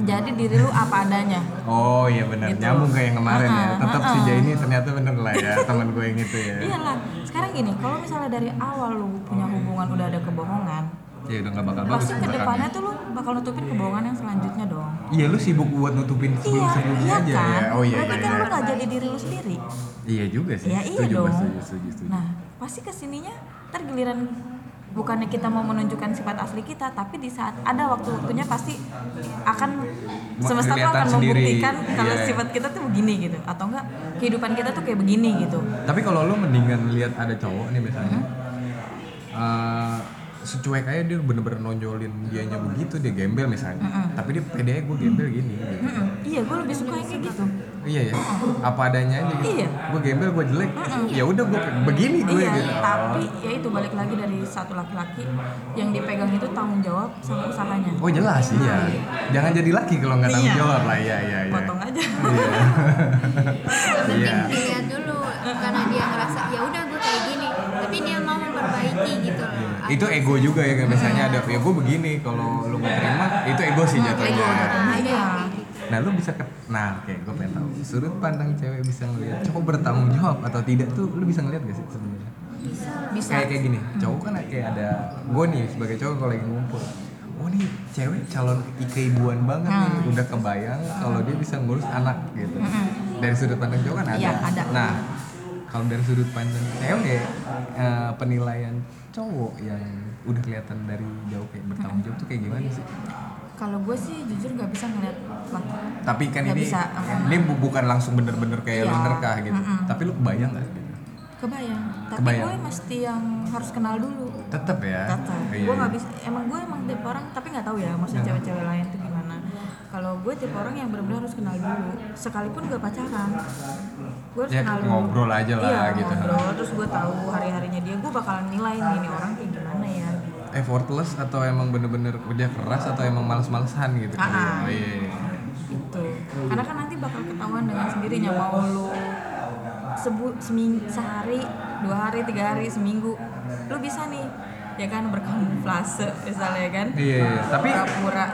B: jadi diri lu apa adanya
A: Oh iya benar
B: Gitu.
A: nyambung kayak yang kemarin ya.
B: Ah,
A: Tetap
B: ah,
A: si
B: ah.
A: Jai ini ternyata bener lah ya teman gue yang itu ya.
B: iyalah sekarang gini kalau misalnya dari awal lu punya hubungan udah ada kebohongan
A: Ya udah gak bakal bagus
B: pasti kedepannya tuh lu bakal nutupin kebohongan yang selanjutnya dong
A: Iya lu sibuk buat nutupin sebelum
B: Iya,
A: sebelumnya
B: iya
A: aja
B: kan?
A: ya. Oh iya
B: Berarti
A: iya.
B: kan lu
A: Iya,
B: gak jadi diri lu sendiri.
A: Iya juga sih.
B: Ya iya
A: setuju,
B: dong.
A: gua setuju, setuju, setuju.
B: Nah, pasti kesininya ntar giliran bukannya kita mau menunjukkan sifat asli kita, tapi di saat ada waktu-waktunya pasti akan semesta tuh
A: kelihatan
B: akan
A: sendiri.
B: membuktikan kalau
A: Iya.
B: sifat kita tuh begini gitu, atau enggak kehidupan kita tuh kayak begini gitu.
A: Tapi kalau lu mendingan lihat ada cowok nih misalnya.
B: Mm-hmm.
A: eh, secuek aja dia bener-bener nonjolin dianya begitu dia gembel misalnya tapi dia pede aja gue gembel gini gitu.
B: Mm-mm. Iya, gue lebih suka yang kayak gitu.
A: Iya ya, apa adanya aja gitu.
B: Iya.
A: Gue gembel, gue jelek. Ya udah gue begini gue
B: Iya,
A: gitu.
B: tapi ya itu balik lagi dari satu laki-laki yang dipegang itu tanggung jawab sama usahanya.
A: Oh jelas iya. Jangan jadi laki kalau nggak tanggung
B: Iya.
A: jawab lah. Iya iya iya.
B: Potong aja.
C: penting
A: Iya.
C: dilihat dulu karena dia ngerasa ya udah gue kayak gini tapi dia mau memperbaiki gitu loh
A: Iya, Itu ego juga ya, kayak misalnya ada ya gue begini kalau lu nggak terima, itu ego sih jatuhnya.
C: Nah, ada yang kayak gitu
A: Nah lu bisa ke, nah oke gue pengen tahu sudut pandang cewek bisa ngelihat cowok bertanggung jawab atau tidak tuh lu bisa ngelihat gak sih sebenarnya?
C: bisa lah.
B: bisa
A: Kayak kayak gini, cowok kan kayak ada gue nih sebagai cowok kalau lagi ngumpul. Oh nih cewek calon i- keibuan banget nih,
B: Hmm.
A: udah kebayang kalau dia bisa ngurus anak gitu. Dari sudut pandang cowok kan ada.
B: Iya, ada.
A: Nah kalau dari sudut pandang cewek eh, penilaian cowok yang udah kelihatan dari jauh kayak
B: Hmm.
A: bertanggung jawab tuh kayak gimana sih?
B: kalau gue sih jujur nggak bisa ngeliat lah
A: Tapi kan ini
B: Nggak bisa, mm.
A: ini bu- bukan langsung bener-bener kayak
B: Iya.
A: lu nerkah gitu.
B: Mm-mm.
A: Tapi lu kebayang gak? Gitu?
B: kebayang tapi
A: Kebayang.
B: gue mesti yang harus kenal dulu
A: Tetep ya.
B: Kata,
A: Iya,
B: gue nggak
A: iya.
B: bisa. Emang gue emang tipe orang, tapi nggak tahu ya maksudnya cewek-cewek lain tuh gimana. Kalau gue tipe orang yang benar-benar harus kenal dulu, sekalipun gak pacaran, gue harus
A: Ya,
B: kenal dulu.
A: ngobrol aja lah
B: iya,
A: gitu.
B: Ngobrol, terus gue tahu hari-harinya dia, gue bakalan nilai nih, ini orang kayak gimana ya.
A: effortless atau emang bener-bener kerja keras atau emang males-malesan gitu kali ya?
B: Ah.
A: Oh, iya, iya.
B: Gitu. Karena kan nanti bakal ketahuan dengan sendirinya mau lu sebu seming sehari, dua hari, tiga hari, seminggu, lu bisa nih ya kan berkamuflase misalnya kan.
A: Iya, iya. tapi
B: Pura-pura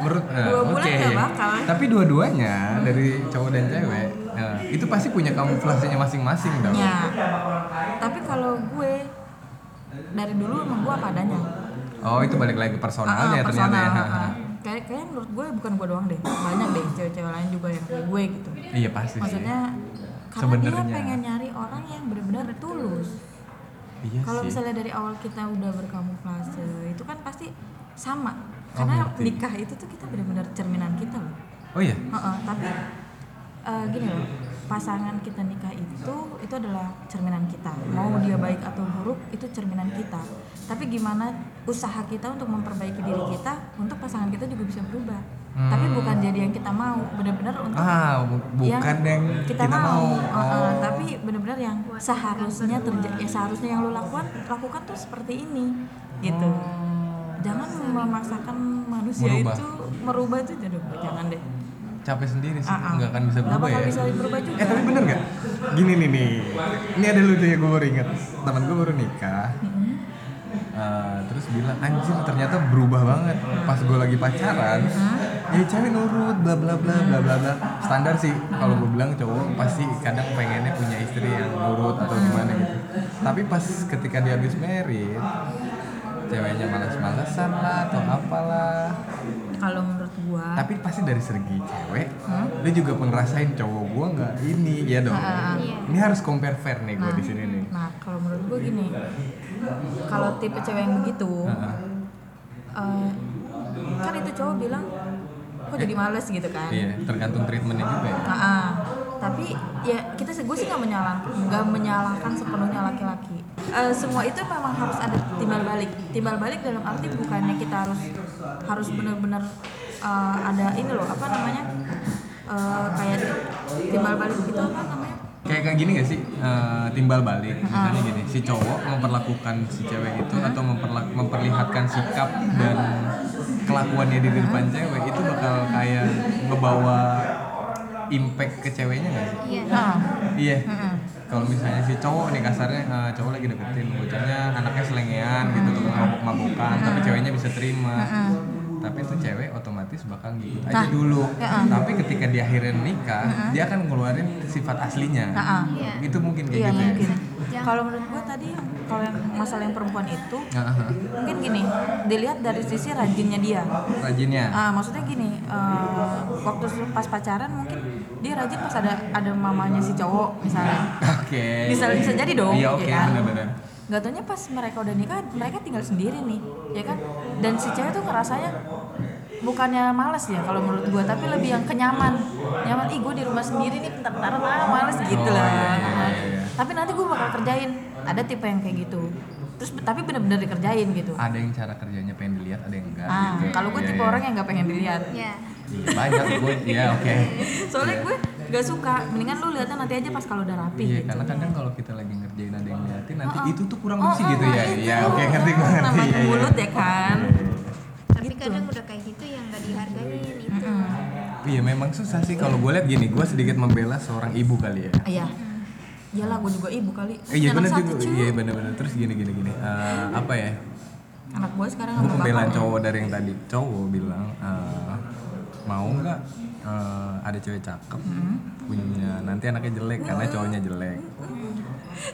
A: menurut eh,
B: Dua bulan
A: oke.
B: nggak bakal.
A: Tapi dua-duanya dari cowok dan cewek eh, itu pasti punya kamuflasenya masing-masing dong.
B: Ya. Tapi kalau gue dari dulu emang gue apa adanya.
A: Oh, itu balik lagi ke personalnya
B: Ah, ah,
A: ternyata ya.
B: personal, ah, ah. Kayak kayaknya menurut gue bukan gue doang deh, banyak deh cewek-cewek lain juga yang kayak gue gitu.
A: iya pasti sih.
B: Maksudnya karena
A: Sebenarnya.
B: dia pengen nyari orang yang benar-benar tulus.
A: Iya
B: Kalau
A: sih.
B: misalnya dari awal kita udah berkamuflase, itu kan pasti sama. Karena
A: Oh, ngerti.
B: nikah itu tuh kita benar-benar cerminan kita loh.
A: Oh iya.
B: Heeh, tapi eh, gini loh, pasangan kita nikah itu itu adalah cerminan kita. Mau dia baik atau buruk itu cerminan kita. Tapi gimana usaha kita untuk memperbaiki diri kita untuk pasangan kita juga bisa berubah. Tapi
A: Hmm.
B: bukan jadi yang kita mau, benar-benar untuk
A: Ah, bu- bukan
B: Iya.
A: yang, kita, mau.
B: Heeh,
A: Oh.
B: tapi benar-benar yang seharusnya terjadi, ya seharusnya yang lo lakukan lakukan tuh seperti ini, gitu.
A: Oh.
B: Jangan memaksakan manusia
A: Merubah.
B: itu merubah itu jadi jangan deh
A: capek sendiri sih,
B: Ah, ah.
A: nggak akan bisa
B: Nggak
A: berubah
B: bakal
A: ya.
B: bisa berubah juga.
A: Eh tapi bener nggak? Gini nih nih, ini ada lucunya gue baru inget. Temen gue baru nikah, Eh, terus bilang anjir ternyata berubah banget pas gue lagi pacaran. Ya cewek nurut, bla bla bla bla bla bla. Standar sih kalau gue bilang cowok pasti kadang pengennya punya istri yang nurut atau gimana gitu. Tapi pas ketika dia habis married, ceweknya malas-malasan lah atau apalah
B: kalau menurut gua
A: tapi pasti dari segi cewek lu juga ngerasain cowok gua nggak ini ya dong
C: Iya.
A: ini harus compare fair nih gua di sini nih
B: nah kalau menurut gua gini kalau tipe cewek yang begitu
A: Heeh.
B: eh, kan itu cowok bilang kok jadi males gitu kan
A: iya tergantung treatmentnya juga ya
B: Nah, ah. tapi ya kita gue sih nggak menyalahkan nggak menyalahkan sepenuhnya laki-laki Eh, semua itu memang harus ada timbal balik timbal balik dalam arti bukannya kita harus harus benar-benar eh, ada ini loh apa namanya Eh, kayak timbal balik itu apa namanya
A: kayak kayak gini gak sih Eh, timbal balik misalnya gini si cowok memperlakukan si cewek itu atau memperla- memperlihatkan sikap dan kelakuannya di depan cewek itu bakal kayak ngebawa impact ke ceweknya gak sih
C: iya
A: Iya. Kalau misalnya si cowok nih kasarnya eh, cowok lagi deketin bocahnya anaknya selengean gitu tuh mabuk-mabukan tapi ceweknya bisa terima. Tapi itu cewek otomatis bakal ngikut aja
B: Nah.
A: dulu. Tapi ketika dia akhirnya nikah, dia akan ngeluarin sifat aslinya.
C: Iya.
A: Itu mungkin kayak
B: Nah, ah. iya
A: gitu.
B: mungkin
A: Ya?
C: Jangan.
B: kalau menurut gue tadi yang- kalau yang masalah yang perempuan itu
A: Ah, ah.
B: mungkin gini dilihat dari sisi rajinnya dia
A: Rajinnya.
B: Ah, maksudnya gini, eh, waktu pas pacaran mungkin dia rajin pas ada ada mamanya si cowok misalnya.
A: Oke.
B: Bisa- bisa jadi dong,
A: Iya
B: ya
A: oke
B: kan?
A: benar-benar.
B: Gak taunya pas mereka udah nikah, mereka tinggal sendiri nih, ya kan? Dan si cewek tuh ngerasanya bukannya males ya kalau menurut gua tapi lebih yang kenyaman nyaman ih gue di rumah sendiri nih bentar-bentar ah males gitu
A: Oh,
B: lah
A: iya, iya, iya, iya.
B: tapi nanti gue bakal kerjain ada tipe yang kayak gitu terus tapi bener-bener dikerjain gitu
A: Ada yang cara kerjanya pengen dilihat, ada yang enggak.
B: ah
A: Ah, gitu.
B: kalau gue
A: Iya,
B: tipe
A: iya.
B: orang yang nggak pengen dilihat
C: iya
A: Iya, banyak gue. Iya oke.
B: soalnya gue gak suka mendingan lu lihatnya nanti aja pas kalau udah rapi
A: Iya,
B: gitu
A: karena kadang kalau kita lagi ngerjain ada yang ngeliatin nanti
B: Oh, oh.
A: itu tuh kurang
B: Oh,
A: bersih
B: oh,
A: gitu
B: oh,
A: ya.
B: itu.
A: Iya, oke ngerti gue ngerti.
B: Nama
A: Iya, iya.
B: mulut ya kan?
A: Iya, iya,
C: tapi
B: Gitu.
C: kadang udah kayak gitu yang nggak dihargain itu
A: iya. Iya, memang susah sih kalau gue lihat gini, gue sedikit membela seorang ibu kali ya.
B: iya iyalah gue juga ibu kali
A: Eh, Iya
B: Anak
A: benar
B: satu,
A: juga,
B: cuy.
A: iya benar-benar. Terus gini gini gini, Eh, apa ya?
B: anak gue sekarang
A: Gue
B: sama
A: pembelaan
B: bapaknya.
A: cowok dari yang tadi cowok bilang eh, mau nggak eh, ada cewek cakep
B: Mm-hmm.
A: punya nanti anaknya jelek karena cowoknya jelek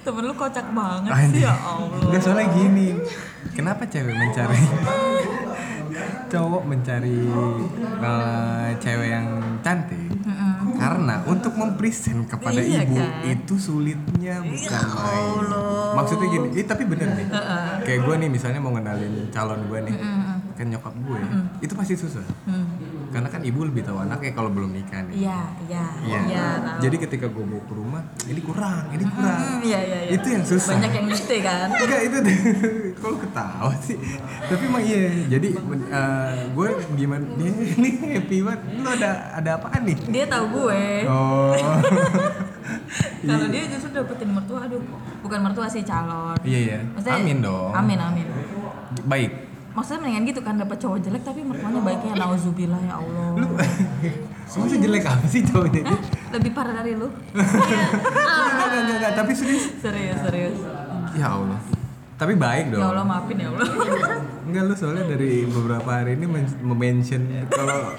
B: Temen lu kocak banget sih
A: Anjing.
B: ya Allah.
A: Enggak Ah, iya. soalnya gini. Kenapa cewek mencari cowok mencari eh, cewek yang cantik? Karena untuk mempresent kepada
B: Iya
A: ibu
B: kan? Ya
A: itu sulitnya bukan main. Maksudnya gini, eh, tapi bener nih. Kayak gue nih misalnya mau ngenalin calon gue nih, kan nyokap gue, itu pasti susah. Karena kan ibu lebih tahu anaknya kalau belum nikah nih.
B: Mm. Iya, iya,
A: Iya.
B: iya. tahu.
A: Jadi ketika gue mau ke rumah, ini kurang, ini kurang.
B: Hmm, Iya, iya, iya.
A: Itu yang susah.
B: Banyak yang gitu kan.
A: Enggak itu deh. Kok lu ketawa sih? Tapi emang iya. Jadi eh, gue gimana dia ini happy banget. Lu ada ada apaan nih?
B: Dia tahu gue.
A: Oh.
B: Kalau dia justru dapetin mertua, aduh, bukan mertua sih calon.
A: Iya iya.
B: Maksudnya-
A: Amin dong.
B: Amin, amin.
A: Baik.
B: Maksudnya mendingan gitu kan dapat cowok jelek tapi mertuanya baiknya nauzubillah ya Allah.
A: Lu Masa jelek apa sih cowoknya?
B: Hah? Lebih parah dari lu?
A: Enggak enggak enggak, enggak. tapi serius.
B: serius, serius.
A: Ya Allah. Tapi baik
B: Ya Allah
A: dong.
B: maafin ya Allah.
A: Enggak lu soalnya dari beberapa hari ini men- mention kalau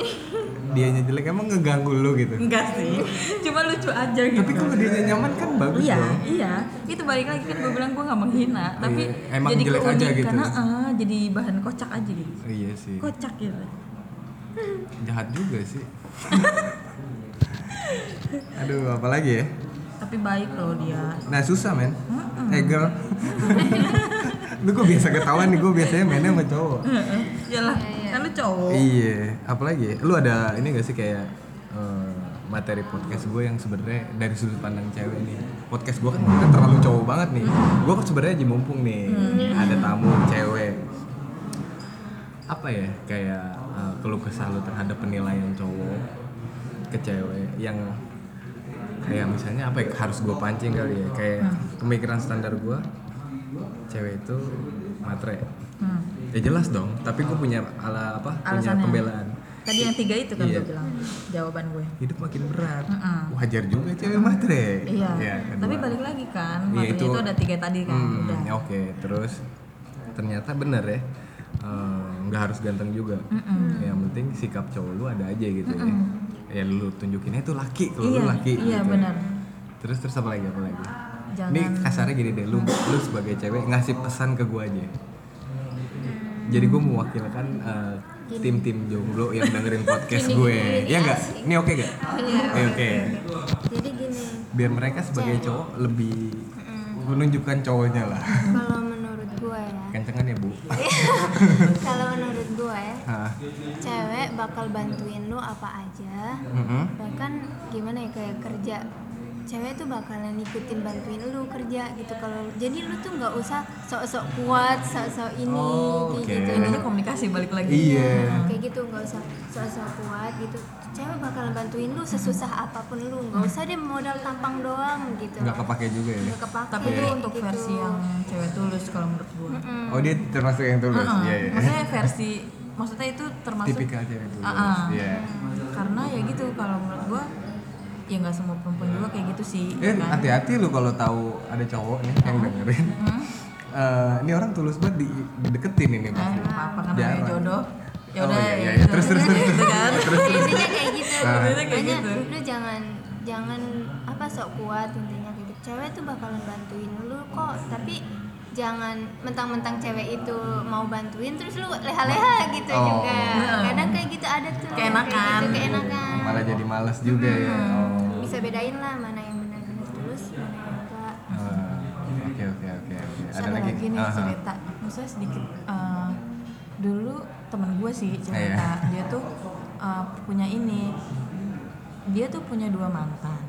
A: dianya jelek emang ngeganggu lu gitu.
B: Enggak sih. Cuma lucu aja gitu.
A: Tapi kalau dianya nyaman kan bagus
B: Iya,
A: dong.
B: iya. Itu balik lagi kan gue bilang gue gak menghina, tapi
A: Iya, emang
B: jadi
A: jelek aja
B: keunikan,
A: gitu.
B: heeh, jadi bahan kocak aja gitu.
A: Iya sih.
B: Kocak gitu.
A: jahat juga sih aduh apalagi ya
B: Tapi baik loh dia.
A: nah susah men eh girl lu kok biasa ketawa nih gue biasanya mainnya sama cowok
B: Heeh. Yalah,
C: Iya, iya.
B: kan lu cowok.
A: iya apalagi ya? lu ada ini gak sih kayak eh, materi podcast gue yang sebenarnya dari sudut pandang cewek nih podcast gue kan kan terlalu cowok banget nih gue kan sebenarnya aja mumpung nih ada tamu cewek apa ya kayak eh, keluh kesah lu terhadap penilaian cowok ke cewek yang kayak misalnya apa ya harus gue pancing kali ya kayak pemikiran standar gue cewek itu matre
B: Hmm.
A: ya jelas dong tapi gue punya ala apa punya
B: Alasannya.
A: pembelaan
B: Tadi yang tiga itu kan
A: Iya.
B: gue bilang jawaban gue.
A: hidup makin berat
B: Mm-mm.
A: wajar juga cewek matre
B: Iya.
A: Ya, kedua.
B: Tapi balik lagi kan,
A: Iya,
B: materi itu...
A: itu-
B: ada tiga tadi kan.
A: Hmm,
B: Udah.
A: oke terus ternyata bener ya eh, nggak harus ganteng juga yang penting sikap cowok lu ada aja gitu ya ya lu tunjukinnya itu laki kalau
B: Iya,
A: lu laki gitu.
B: iya, benar.
A: terus terus apa lagi apa lagi
B: Jangan-
A: ini kasarnya gini deh lu lu sebagai cewek ngasih pesan ke gua aja jadi gue mewakilkan eh, tim-tim jomblo yang dengerin podcast
C: Gini,
A: gue
C: gini,
A: ya enggak
C: asik.
A: ini oke gak
C: Iya.
A: Eh, oke
C: jadi gini
A: biar mereka sebagai cowok lebih menunjukkan cowoknya lah
C: kalau menurut gue ya
A: kencengan ya bu
C: kalau menurut gue
A: Hah.
C: cewek bakal bantuin lu apa aja
A: Mm-mm.
C: bahkan gimana ya kayak kerja cewek tuh bakalan ngikutin bantuin lu kerja gitu kalau jadi lu tuh nggak usah sok-sok kuat sok-sok ini
A: Oh,
C: kayak
A: oke.
C: gitu
B: Intinya komunikasi balik lagi.
A: iya
C: Nah, kayak gitu nggak usah sok-sok kuat gitu cewek bakalan bantuin lu sesusah apapun lu nggak usah deh modal tampang doang gitu
A: nggak kepake juga ya
C: Nggak kepake
B: Tapi itu untuk
C: gitu. Hmm.
B: versi yang cewek tulus kalau menurut gue.
C: Mm-mm.
A: oh dia termasuk yang tulus
B: Heeh.
A: iya iya
B: Maksudnya versi maksudnya itu termasuk
A: tipikal cewek tulus
B: Ah, ah.
A: iya
B: karena ya gitu kalau menurut gua ya nggak semua perempuan juga kayak gitu sih
A: eh
B: ya kan?
A: hati-hati lu kalau tahu ada cowok nih yang dengerin Eh, ini orang tulus banget di- dideketin ini
B: Eh,
A: pasti
B: nggak apa-apa kan namanya
A: Jarang.
B: jodoh ya
A: Oh,
B: udah
A: iya, iya,
B: ya
A: iya.
B: gitu.
A: Terus, terus, terus,
B: Gitu kan
C: Ya, intinya kayak gitu
A: Ah.
B: Intinya kayak
C: Pokoknya
B: gitu.
C: lu jangan jangan apa sok kuat intinya kayak gitu cewek tuh bakalan bantuin lu kok tapi jangan mentang-mentang cewek itu mau bantuin terus lu leha-leha gitu
A: Oh.
C: juga
B: Hmm.
C: kadang kayak gitu ada tuh
B: Keenakan.
C: kayak gitu,
B: kan?
C: keenakan
A: malah jadi males juga ya oh.
C: bisa bedain lah mana yang benar-benar tulus mana yang enggak
A: Eh, oke oke oke oke
B: Terus
A: ada lagi
B: nih
A: Aha.
B: cerita maksudnya sedikit eh, dulu temen gue sih cerita
A: Iya.
B: dia tuh eh, punya ini dia tuh punya dua mantan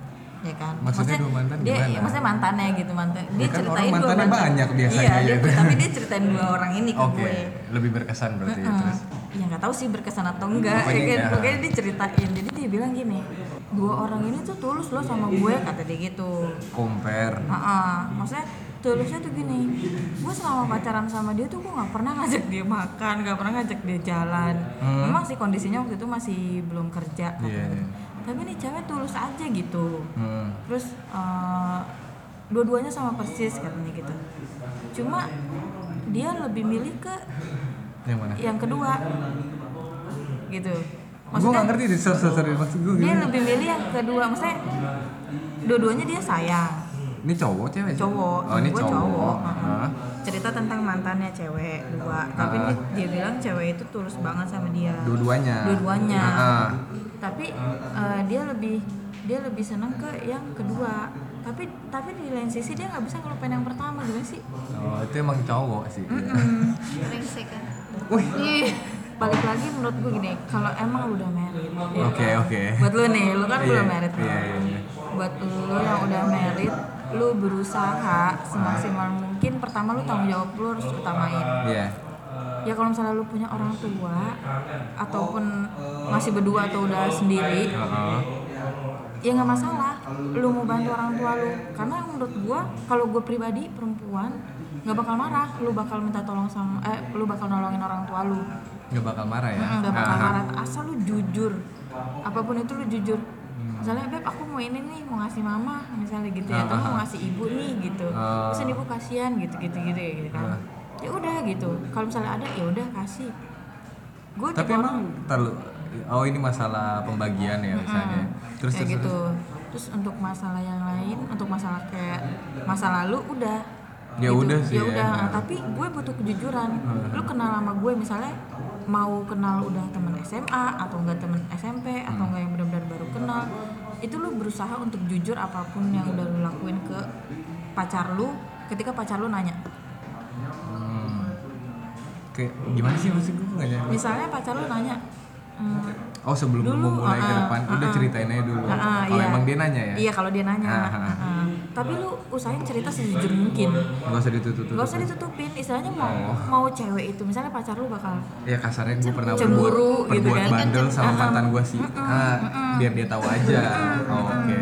B: ya kan
A: Maksudnya dua mantan
B: dia
A: gimana?
B: iya, maksudnya mantannya gitu mantan dia
A: Ya kan
B: ceritain
A: orang
B: dua
A: mantannya
B: mantan
A: banyak biasanya
B: iya dia,
A: gitu.
B: tapi dia ceritain dua orang ini ke
A: oke
B: gue
A: lebih berkesan berarti ya,
B: Heeh.
A: terus
B: ya nggak tahu sih berkesan atau enggak
A: Pokoknya
B: ya kan
A: enggak.
B: pokoknya dia ceritain jadi dia bilang gini dua orang ini tuh tulus loh sama gue kata dia gitu
A: compare
B: Heeh, maksudnya tulusnya tuh gini, gue selama pacaran sama dia tuh gue nggak pernah ngajak dia makan, nggak pernah ngajak dia jalan.
A: Hmm.
B: Memang sih kondisinya waktu itu masih belum kerja, katanya
A: Iya,
B: gitu.
A: iya.
B: tapi nih cewek tulus aja gitu.
A: Hmm.
B: Terus eh, dua-duanya sama persis katanya gitu. Cuma dia lebih milih ke
A: yang mana
B: yang kedua, gitu.
A: gue nggak ngerti deh sorry sorry sorry. maksud gitu. gue
B: dia
A: gimana
B: lebih milih yang kedua maksudnya dua-duanya dia sayang
A: ini cowok cewek sih?
B: cowok
A: oh ini
B: Gua
A: cowok,
B: heeh.
A: Hah?
B: cerita tentang mantannya cewek dua tapi
A: Heeh.
B: dia- dia bilang cewek itu tulus banget sama dia
A: dua-duanya
B: dua-duanya
A: Heeh.
B: tapi eh, dia lebih dia lebih senang ke yang kedua tapi tapi di lain sisi dia nggak bisa ngelupain yang pertama gimana sih
A: oh, itu emang cowok sih
C: brengsek kan
A: Wih,
C: Ih,
B: Iya. balik lagi menurut gue gini kalau emang lu udah married ya
A: oke
B: kan?
A: oke
B: buat lu nih lu kan
A: Iya,
B: belum married
A: iya iya iya.
B: buat lu yang udah married lu berusaha semaksimal mungkin pertama lu tanggung jawab lu harus utamain
A: Iya.
B: ya kalau misalnya lu punya orang tua ataupun masih berdua atau udah sendiri
A: Heeh.
B: ya nggak masalah lu mau bantu orang tua lu karena menurut gua kalau gua pribadi perempuan nggak bakal marah lu bakal minta tolong sama eh lu bakal nolongin orang tua lu
A: nggak bakal marah ya
B: Mm, nggak bakal
A: Heeh.
B: marah asal lu jujur apapun itu lu jujur misalnya beb aku mau ini nih mau ngasih mama misalnya gitu ya atau
A: Ah, ah,
B: mau
A: ah.
B: ngasih ibu nih gitu
A: Ah.
B: terus ibu kasihan gitu gitu gitu ya gitu kan
A: Ah.
B: ya udah gitu kalau misalnya ada ya udah kasih gue
A: tapi emang terlalu oh ini masalah pembagian ya misalnya terus
B: kayak
A: terus,
B: gitu
A: terus.
B: terus untuk masalah yang lain untuk masalah kayak masa lalu udah
A: Ya udah sih ya.
B: ya
A: Hmm.
B: udah Nah, tapi gue butuh kejujuran lu kenal sama gue misalnya mau kenal udah temen SMA atau enggak temen SMP
A: Hmm.
B: atau enggak yang benar-benar baru kenal itu lu berusaha untuk jujur apapun yang
A: Iya.
B: udah lu lakuin ke pacar lu ketika pacar lu nanya
A: Hmm. kayak gimana sih maksud gue nggak nyampe
B: misalnya pacar lu nanya "Hmm,
A: oh sebelum lu
B: Dulu,
A: mulai ke
B: ah,
A: depan
B: ah,
A: udah
B: ah.
A: ceritain aja dulu
B: Ah, ah,
A: kalau
B: iya.
A: emang dia nanya ya
B: iya kalau dia nanya
A: Ah, ah.
B: ah. tapi lu usahain cerita sejujur mungkin
A: nggak usah ditutup
B: Gak usah ditutupin, istilahnya mau
A: Oh.
B: mau cewek itu, misalnya pacar lu bakal
A: ya kasarnya gue pernah
B: Cemburu
A: berbuat,
B: gitu
A: berbuat
B: kan.
A: bandel sama
B: Ah,
A: mantan gue sih ah, biar dia tahu aja Oh, oke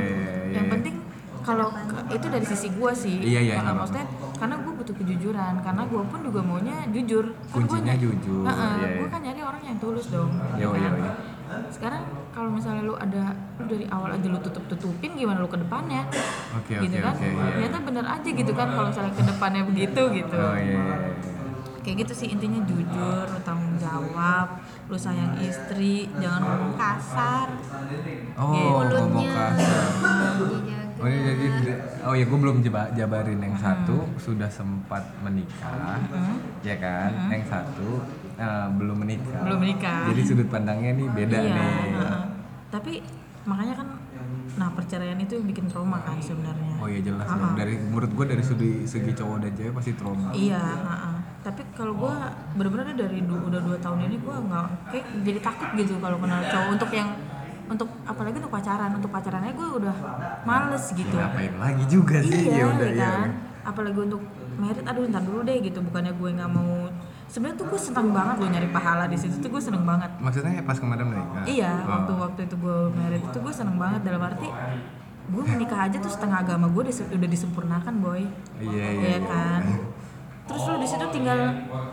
B: yang penting kalau itu dari sisi gua sih.
A: Iya, iya,
B: Karena
A: nggak
B: maksudnya karena gua butuh kejujuran, karena gua pun juga maunya jujur. Kan gua
A: Kuncinya
B: ny-
A: jujur,
B: Heeh,
A: iya,
B: gua
A: iya.
B: kan nyari orang yang tulus dong.
A: Iya,
B: kan?
A: iya, iya.
B: Sekarang kalau misalnya lu ada lu dari awal aja lu tutup-tutupin gimana lu ke depannya?
A: Oke,
B: gitu
A: oke,
B: kan.
A: oke, iya.
B: Ternyata bener aja gitu kan kalau misalnya ke depannya begitu gitu.
A: oh iya iya,
B: kayak gitu sih intinya jujur lu tanggung jawab lu sayang istri jangan ngomong kasar
A: iya. oh
C: mulutnya
A: ngomong kasar
C: dijaga.
A: Oh iya, jadi oh ya gue belum jeba- jabarin yang satu sudah sempat menikah, ya kan? Yang satu eh, belum menikah.
B: Belum menikah.
A: Jadi sudut pandangnya nih beda
B: iya
A: nih.
B: heeh. tapi makanya kan nah perceraian itu yang bikin trauma kan sebenarnya
A: Oh iya jelas
B: Heeh.
A: dong. Dari menurut gue dari segi, segi cowok dan cewek pasti trauma.
B: iya heeh. tapi kalau gue bener-bener dari du- udah dua tahun ini gue nggak kayak jadi takut gitu kalau kenal cowok untuk yang untuk apalagi untuk pacaran untuk pacarannya gue udah males gitu
A: Ngapain lagi juga sih?
B: iya
A: ya udah
B: gitu
A: iya.
B: kan apalagi untuk merit aduh ntar dulu deh gitu bukannya gue nggak mau sebenarnya tuh gue seneng banget loh nyari pahala di situ tuh gue seneng banget
A: Maksudnya pas kemarin menikah.
B: iya
A: Oh.
B: waktu waktu itu gue merit itu gue seneng banget dalam arti gue menikah aja tuh setengah agama gue dis- udah disempurnakan boy
A: Iya iya.
B: Iya
A: iya.
B: kan terus lu di situ tinggal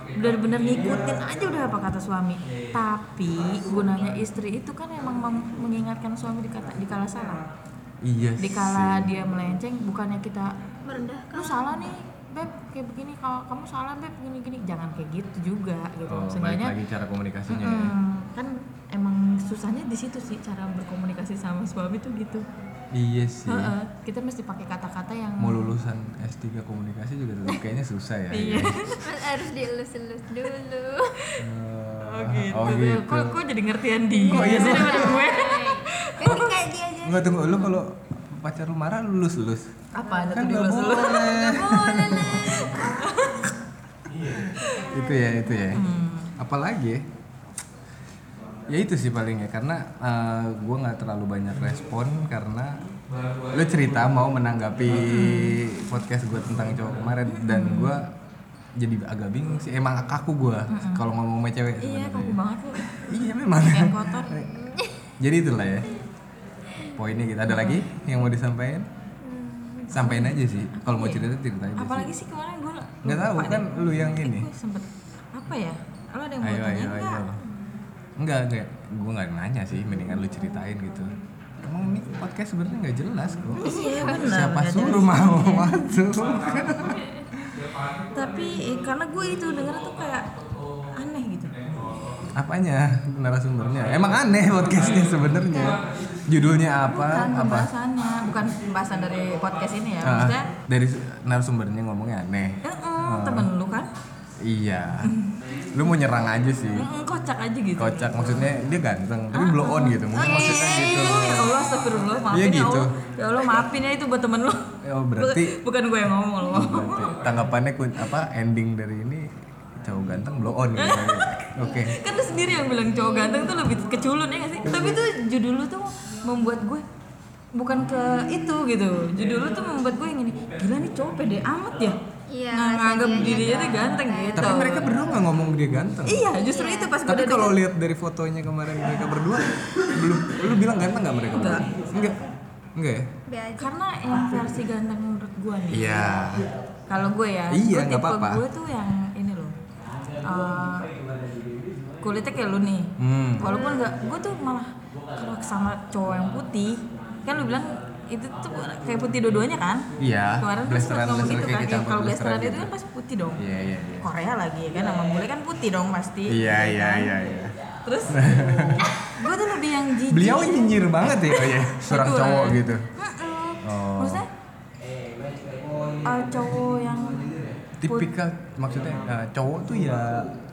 B: bener-bener ngikutin aja udah apa kata suami tapi gunanya istri itu kan emang mem- mengingatkan suami di kata di kala salah
A: Iya.
B: di
A: sih.
B: kala dia melenceng bukannya kita
C: merendah
B: lu salah nih beb kayak begini kalau kamu salah beb gini gini jangan kayak gitu juga gitu
A: Oh, balik
B: seenggaknya
A: lagi cara komunikasinya ya.
B: mm, kan emang susahnya di situ sih cara berkomunikasi sama suami tuh gitu
A: Iya sih.
B: Heeh, kita mesti pakai kata-kata yang
A: Mau lulusan S3 komunikasi juga tetap kayaknya susah ya.
B: Iya.
C: Mas harus dielus-elus dulu
A: Oh
B: gitu,
A: Oh
B: tuh.
A: gitu. iya?
B: kok kok jadi ngertian dia sih daripada gue
C: kan kayak dia aja
A: Enggak tunggu lu kalau pacar lu marah lu lulus lulus.
B: apa ada tuh
A: Kan
B: di
A: nggak
B: lu
A: boleh. Iya.
C: boleh Nek.
A: itu ya itu ya.
B: Hmm.
A: Apalagi ya? ya itu sih paling ya karena eh, gua nggak terlalu banyak respon karena lu cerita mau menanggapi
B: Hmm.
A: podcast gue tentang cowok kemarin dan gua jadi agak bingung sih emang kaku gua kalau ngomong sama cewek
B: Hmm. iya
A: sebenarnya.
B: kaku banget lu
A: Iya memang.
B: Yang kotor.
A: Iya Jadi itulah ya. Poinnya kita ada lagi yang mau disampaikan? Sampaikan aja sih. Kalau mau cerita cerita aja.
B: apalagi
A: sih.
B: sih kemarin gue
A: Nggak tahu kan lu yang ini.
B: gue sempet apa ya lo ada yang mau
A: Ayo
B: tanya
A: ayo ayo.
B: nggak
A: Enggak enggak. Gue nggak nanya sih. Mendingan lu ceritain gitu. Emang ini podcast sebenarnya nggak jelas kok.
B: iya benar
A: Siapa suruh mau masuk?
B: tapi eh, karena gue itu denger tuh kayak aneh gitu
A: apanya narasumbernya emang aneh podcastnya sebenarnya judulnya apa
B: bukan
A: Ah, apa
B: Kan pembahasannya bukan pembahasan dari podcast ini ya
A: Ah,
B: maksudnya
A: dari narasumbernya ngomongnya aneh
B: eh,
A: Ah.
B: eh, temen lu kan
A: iya lu mau nyerang aja sih
B: Eh, eh, kocak aja gitu
A: kocak maksudnya dia ganteng tapi blow on gitu mungkin maksudnya gitu
B: ya Allah astagfirullah maafin
A: Iya gitu.
B: ya Allah ya Allah maafin ya itu buat temen lu
A: Oh, berarti-
B: Bukan- bukan gue yang ngomong lu
A: Berarti tanggapannya kun- apa ending dari ini cowok ganteng blow on gitu oke
B: kan lu sendiri yang bilang cowok ganteng tuh lebih keculun ya gak sih tapi tuh judul lu tuh membuat gue bukan ke itu gitu judul lu tuh membuat gue yang ini gila nih cowok pede amat ya
C: Iya,
B: Nggak nganggap
C: sedianya
B: dirinya tuh ganteng
C: ganteng.
B: gitu
A: tapi mereka berdua nggak ngomong dia ganteng
B: iya justru itu pas gue
A: tapi
B: udah
A: kalau lihat dari fotonya kemarin mereka berdua belum lu bilang ganteng nggak mereka berdua? enggak enggak ya
C: Be aja.
B: karena yang versi ganteng menurut gue nih
A: iya
B: kalau gue ya
A: Iya,
B: gue
A: nggak
B: tipe
A: apa-apa.
B: gue tuh yang ini loh eh, kulitnya kayak lu nih
A: hmm
B: walaupun nggak gue tuh malah kalau sama cowok yang putih kan lu bilang itu tuh kayak putih dua-duanya kan
A: iya
B: kemarin tuh sempet
A: blasteran
B: ngomong
A: blaster
B: gitu
A: kayak
B: kan
A: kita gitu.
B: ya, kalau blasteran itu kan pasti putih dong
A: iya iya iya
B: Korea lagi ya kan sama bule kan putih dong pasti
A: iya iya iya iya
B: terus gue tuh lebih yang jijik
A: beliau nyinyir banget ya oh iya seorang
B: Betul.
A: cowok gitu
B: Mm-mm.
A: Oh.
B: maksudnya eh, cowok yang put-
A: tipikal maksudnya eh, cowok tuh ya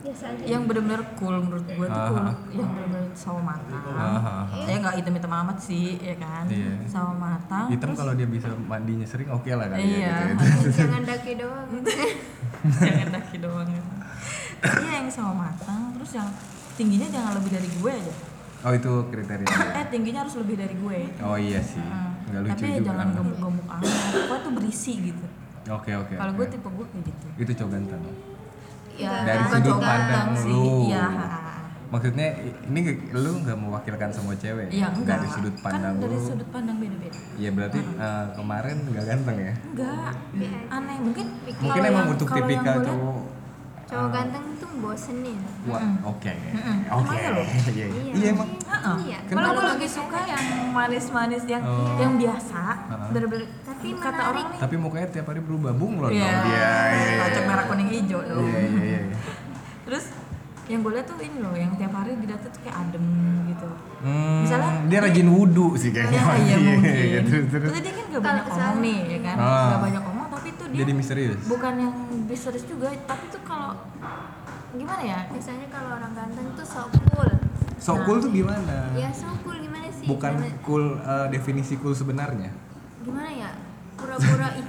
C: Biasa aja.
B: yang bener-bener cool menurut gue tuh cool
A: Aha.
B: yang bener-bener sawo matang
A: Aha.
B: ya nggak hitam-hitam amat sih ya kan
A: Iya.
B: sawo matang
A: hitam kalau dia bisa mandinya sering oke lah kali
B: Ah, Iya.
A: ya gitu ya.
C: Jangan daki doang.
B: jangan kaki doang iya yang sawo matang terus yang tingginya jangan lebih dari gue aja
A: oh itu kriterianya
B: eh tingginya harus lebih dari gue
A: oh iya sih
B: Hmm.
A: nggak lucu
B: tapi ya
A: juga
B: jangan gemuk-gemuk amat gue tuh berisi gitu
A: oke oke
B: kalau
A: oke.
B: gue tipe gue kayak gitu
A: itu cowok ganteng
C: Ya,
A: iya. Dari
B: bukan
A: sudut
B: cowok
A: pandang
B: ganteng
A: lu.
B: sih. iya
A: maksudnya i- ini nge- lu nggak mewakilkan semua cewek
B: Iya, enggak.
A: dari sudut pandang
B: kan dari
A: lu
B: sudut Ah. pandang beda-beda.
A: ya berarti eh, kemarin nggak ganteng ya
B: Enggak.
C: Iya aja.
B: Aneh mungkin
A: mungkin
B: kalau
A: emang
B: yang-
A: untuk
B: kalau yang
A: tipikal
B: gue liat-
A: cowok
C: Cowok ganteng tuh bosenin.
A: wah
B: Mm-mm.
A: oke
B: Mm-mm.
A: oke
B: Emang ya
A: Iya, iya iya emang
B: Heeh.
C: Iya.
B: Malah
A: Kenapa?
B: gue lebih suka yang manis-manis yang
A: Oh.
B: yang biasa,
A: Heeh.
B: bener-bener
C: Tapi
B: kata
C: menarik.
B: orang nih.
A: tapi mukanya tiap hari berubah bunglon dong
B: Iya.
A: dia iya iya
B: Kacang
A: iya.
B: merah kuning hijau dong.
A: iya iya iya
B: Terus yang gue liat tuh ini loh, yang tiap hari di dapur tuh kayak adem gitu.
A: Hmm,
B: Misalnya-
A: dia rajin wudhu sih kayaknya
B: Ya, iya mungkin.
A: terus terus
B: Terus dia kan gak
C: Kalau
B: banyak ngomong
C: soalnya-
B: nih, ya kan?
A: Ah.
B: Gak banyak ngomong, tapi tuh dia
A: jadi misterius
B: bukan yang bisnis juga, tapi tuh kalau gimana ya?
C: Biasanya kalau orang ganteng tuh sok cool.
B: Nah.
A: so cool tuh gimana
B: Iya
C: Ya sok cool gimana sih?
A: bukan
C: Gimana-
A: cool eh, definisi cool sebenarnya
C: Gimana ya? Pura-pura ih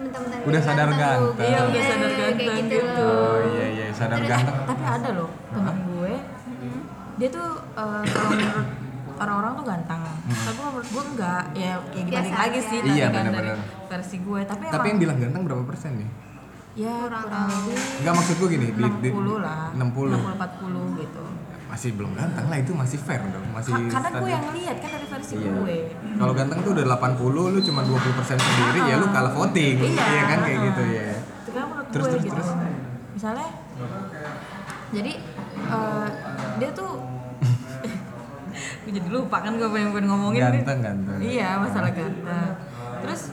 C: mentang-mentang
A: Udah sadar
C: lu,
A: ganteng. Iya, udah
C: eh,
B: sadar ganteng
C: kayak gitu.
B: gitu.
C: loh.
A: oh iya iya sadar
B: Eh,
A: ganteng
B: tapi ada loh temen gue,
A: Hmm.
B: dia tuh eh, kalau menurut orang-orang tuh ganteng, tapi kalau menurut gue enggak. Ya, ya
C: Biasa
B: dibalik lagi
C: aja.
B: sih,
A: Hmm. Iya,
B: tadi kan dari
A: bener-bener.
B: versi gue. Tapi,
A: tapi yang
B: emang
A: bilang ganteng berapa persen nih
B: ya
C: Kurang
B: kurang
C: tahu.
B: lebih
A: Enggak maksud gue gini di, di
B: 60 lah,
A: 60
B: 40 gitu.
A: masih belum ganteng lah itu masih fair dong masih
B: Ka- Karena gue
A: standar.
B: yang lihat kan dari versi
A: Iya.
B: gue.
A: kalau ganteng tuh udah 80 lu cuma 20 persen sendiri ya lu kalah voting
B: Iya.
A: iya kan kayak gitu ya
B: itu kan menurut
A: Terus,
B: gue
A: terus,
B: gitu
A: terus.
B: misalnya jadi eh, dia tuh gue jadi lupa kan gue pengen, pengen ngomongin nih.
A: Ganteng, ganteng.
B: iya masalah ganteng terus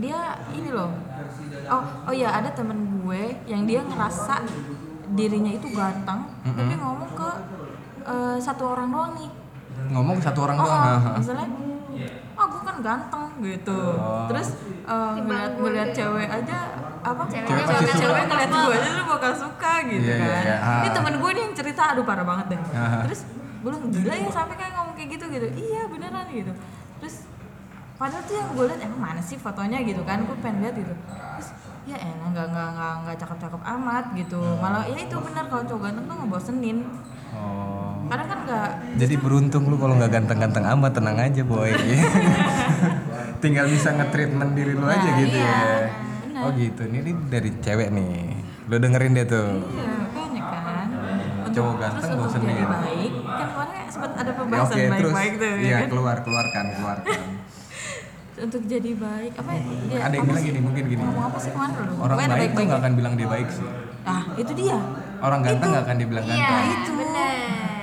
B: dia ini loh oh oh ya ada temen gue yang dia ngerasa dirinya itu ganteng tapi ngomong ke eh, satu orang doang nih
A: ngomong satu orang
B: Oh,
A: doang
B: oh,
A: haha.
B: misalnya oh gue kan ganteng gitu
A: Oh.
B: terus eh, ngeliat ngeliat cewek aja apa
C: Cewek
B: cewek
A: pasti
B: cewek,
A: suka.
B: cewek ngeliat gue aja lu bakal suka gitu
A: Iya, iya,
B: kan
A: iya. Ah.
B: ini temen gue nih yang cerita aduh parah banget deh
A: Ah.
B: terus belum gila ya sampai kayak ngomong kayak gitu gitu iya beneran gitu terus padahal tuh yang gue liat emang mana sih fotonya gitu kan gue pengen lihat gitu terus ya enak nggak nggak nggak nggak cakep cakep amat gitu
A: Ah.
B: malah ya itu benar kalau cowok ganteng tuh ngebosenin
A: oh
B: kadang kan nggak
A: Jadi beruntung lu kalau nggak ganteng-ganteng amat tenang aja boy. Tinggal bisa nge-treatment diri lu aja
B: Nah,
A: gitu
B: iya,
A: ya. Oh gitu. Ini, ini dari cewek nih. Lu dengerin deh tuh.
B: Iya, banyak kan.
A: Iya, Cowok ganteng
B: terus untuk
A: bosenin.
B: jadi baik, kan kemarin sempat ada
A: Ya,
B: pembahasan
A: Oke, terus
B: baik-baik tuh ya
A: iya
B: kan.
A: keluar keluarkan keluarkan.
B: Untuk jadi baik, apa ya?
A: Ada yang
B: apa
A: bilang
B: sih?
A: gini mungkin gini.
B: Ngomong apa sih kemarin lu?
A: Orang
B: Pokoknya ada
A: baik tuh
B: baik-baik
A: nggak akan bilang dia baik sih.
B: ya. Ah, itu dia. Nah,
A: Orang ganteng nggak akan dibilang
C: Iya,
A: ganteng.
B: itu.
C: itu benar.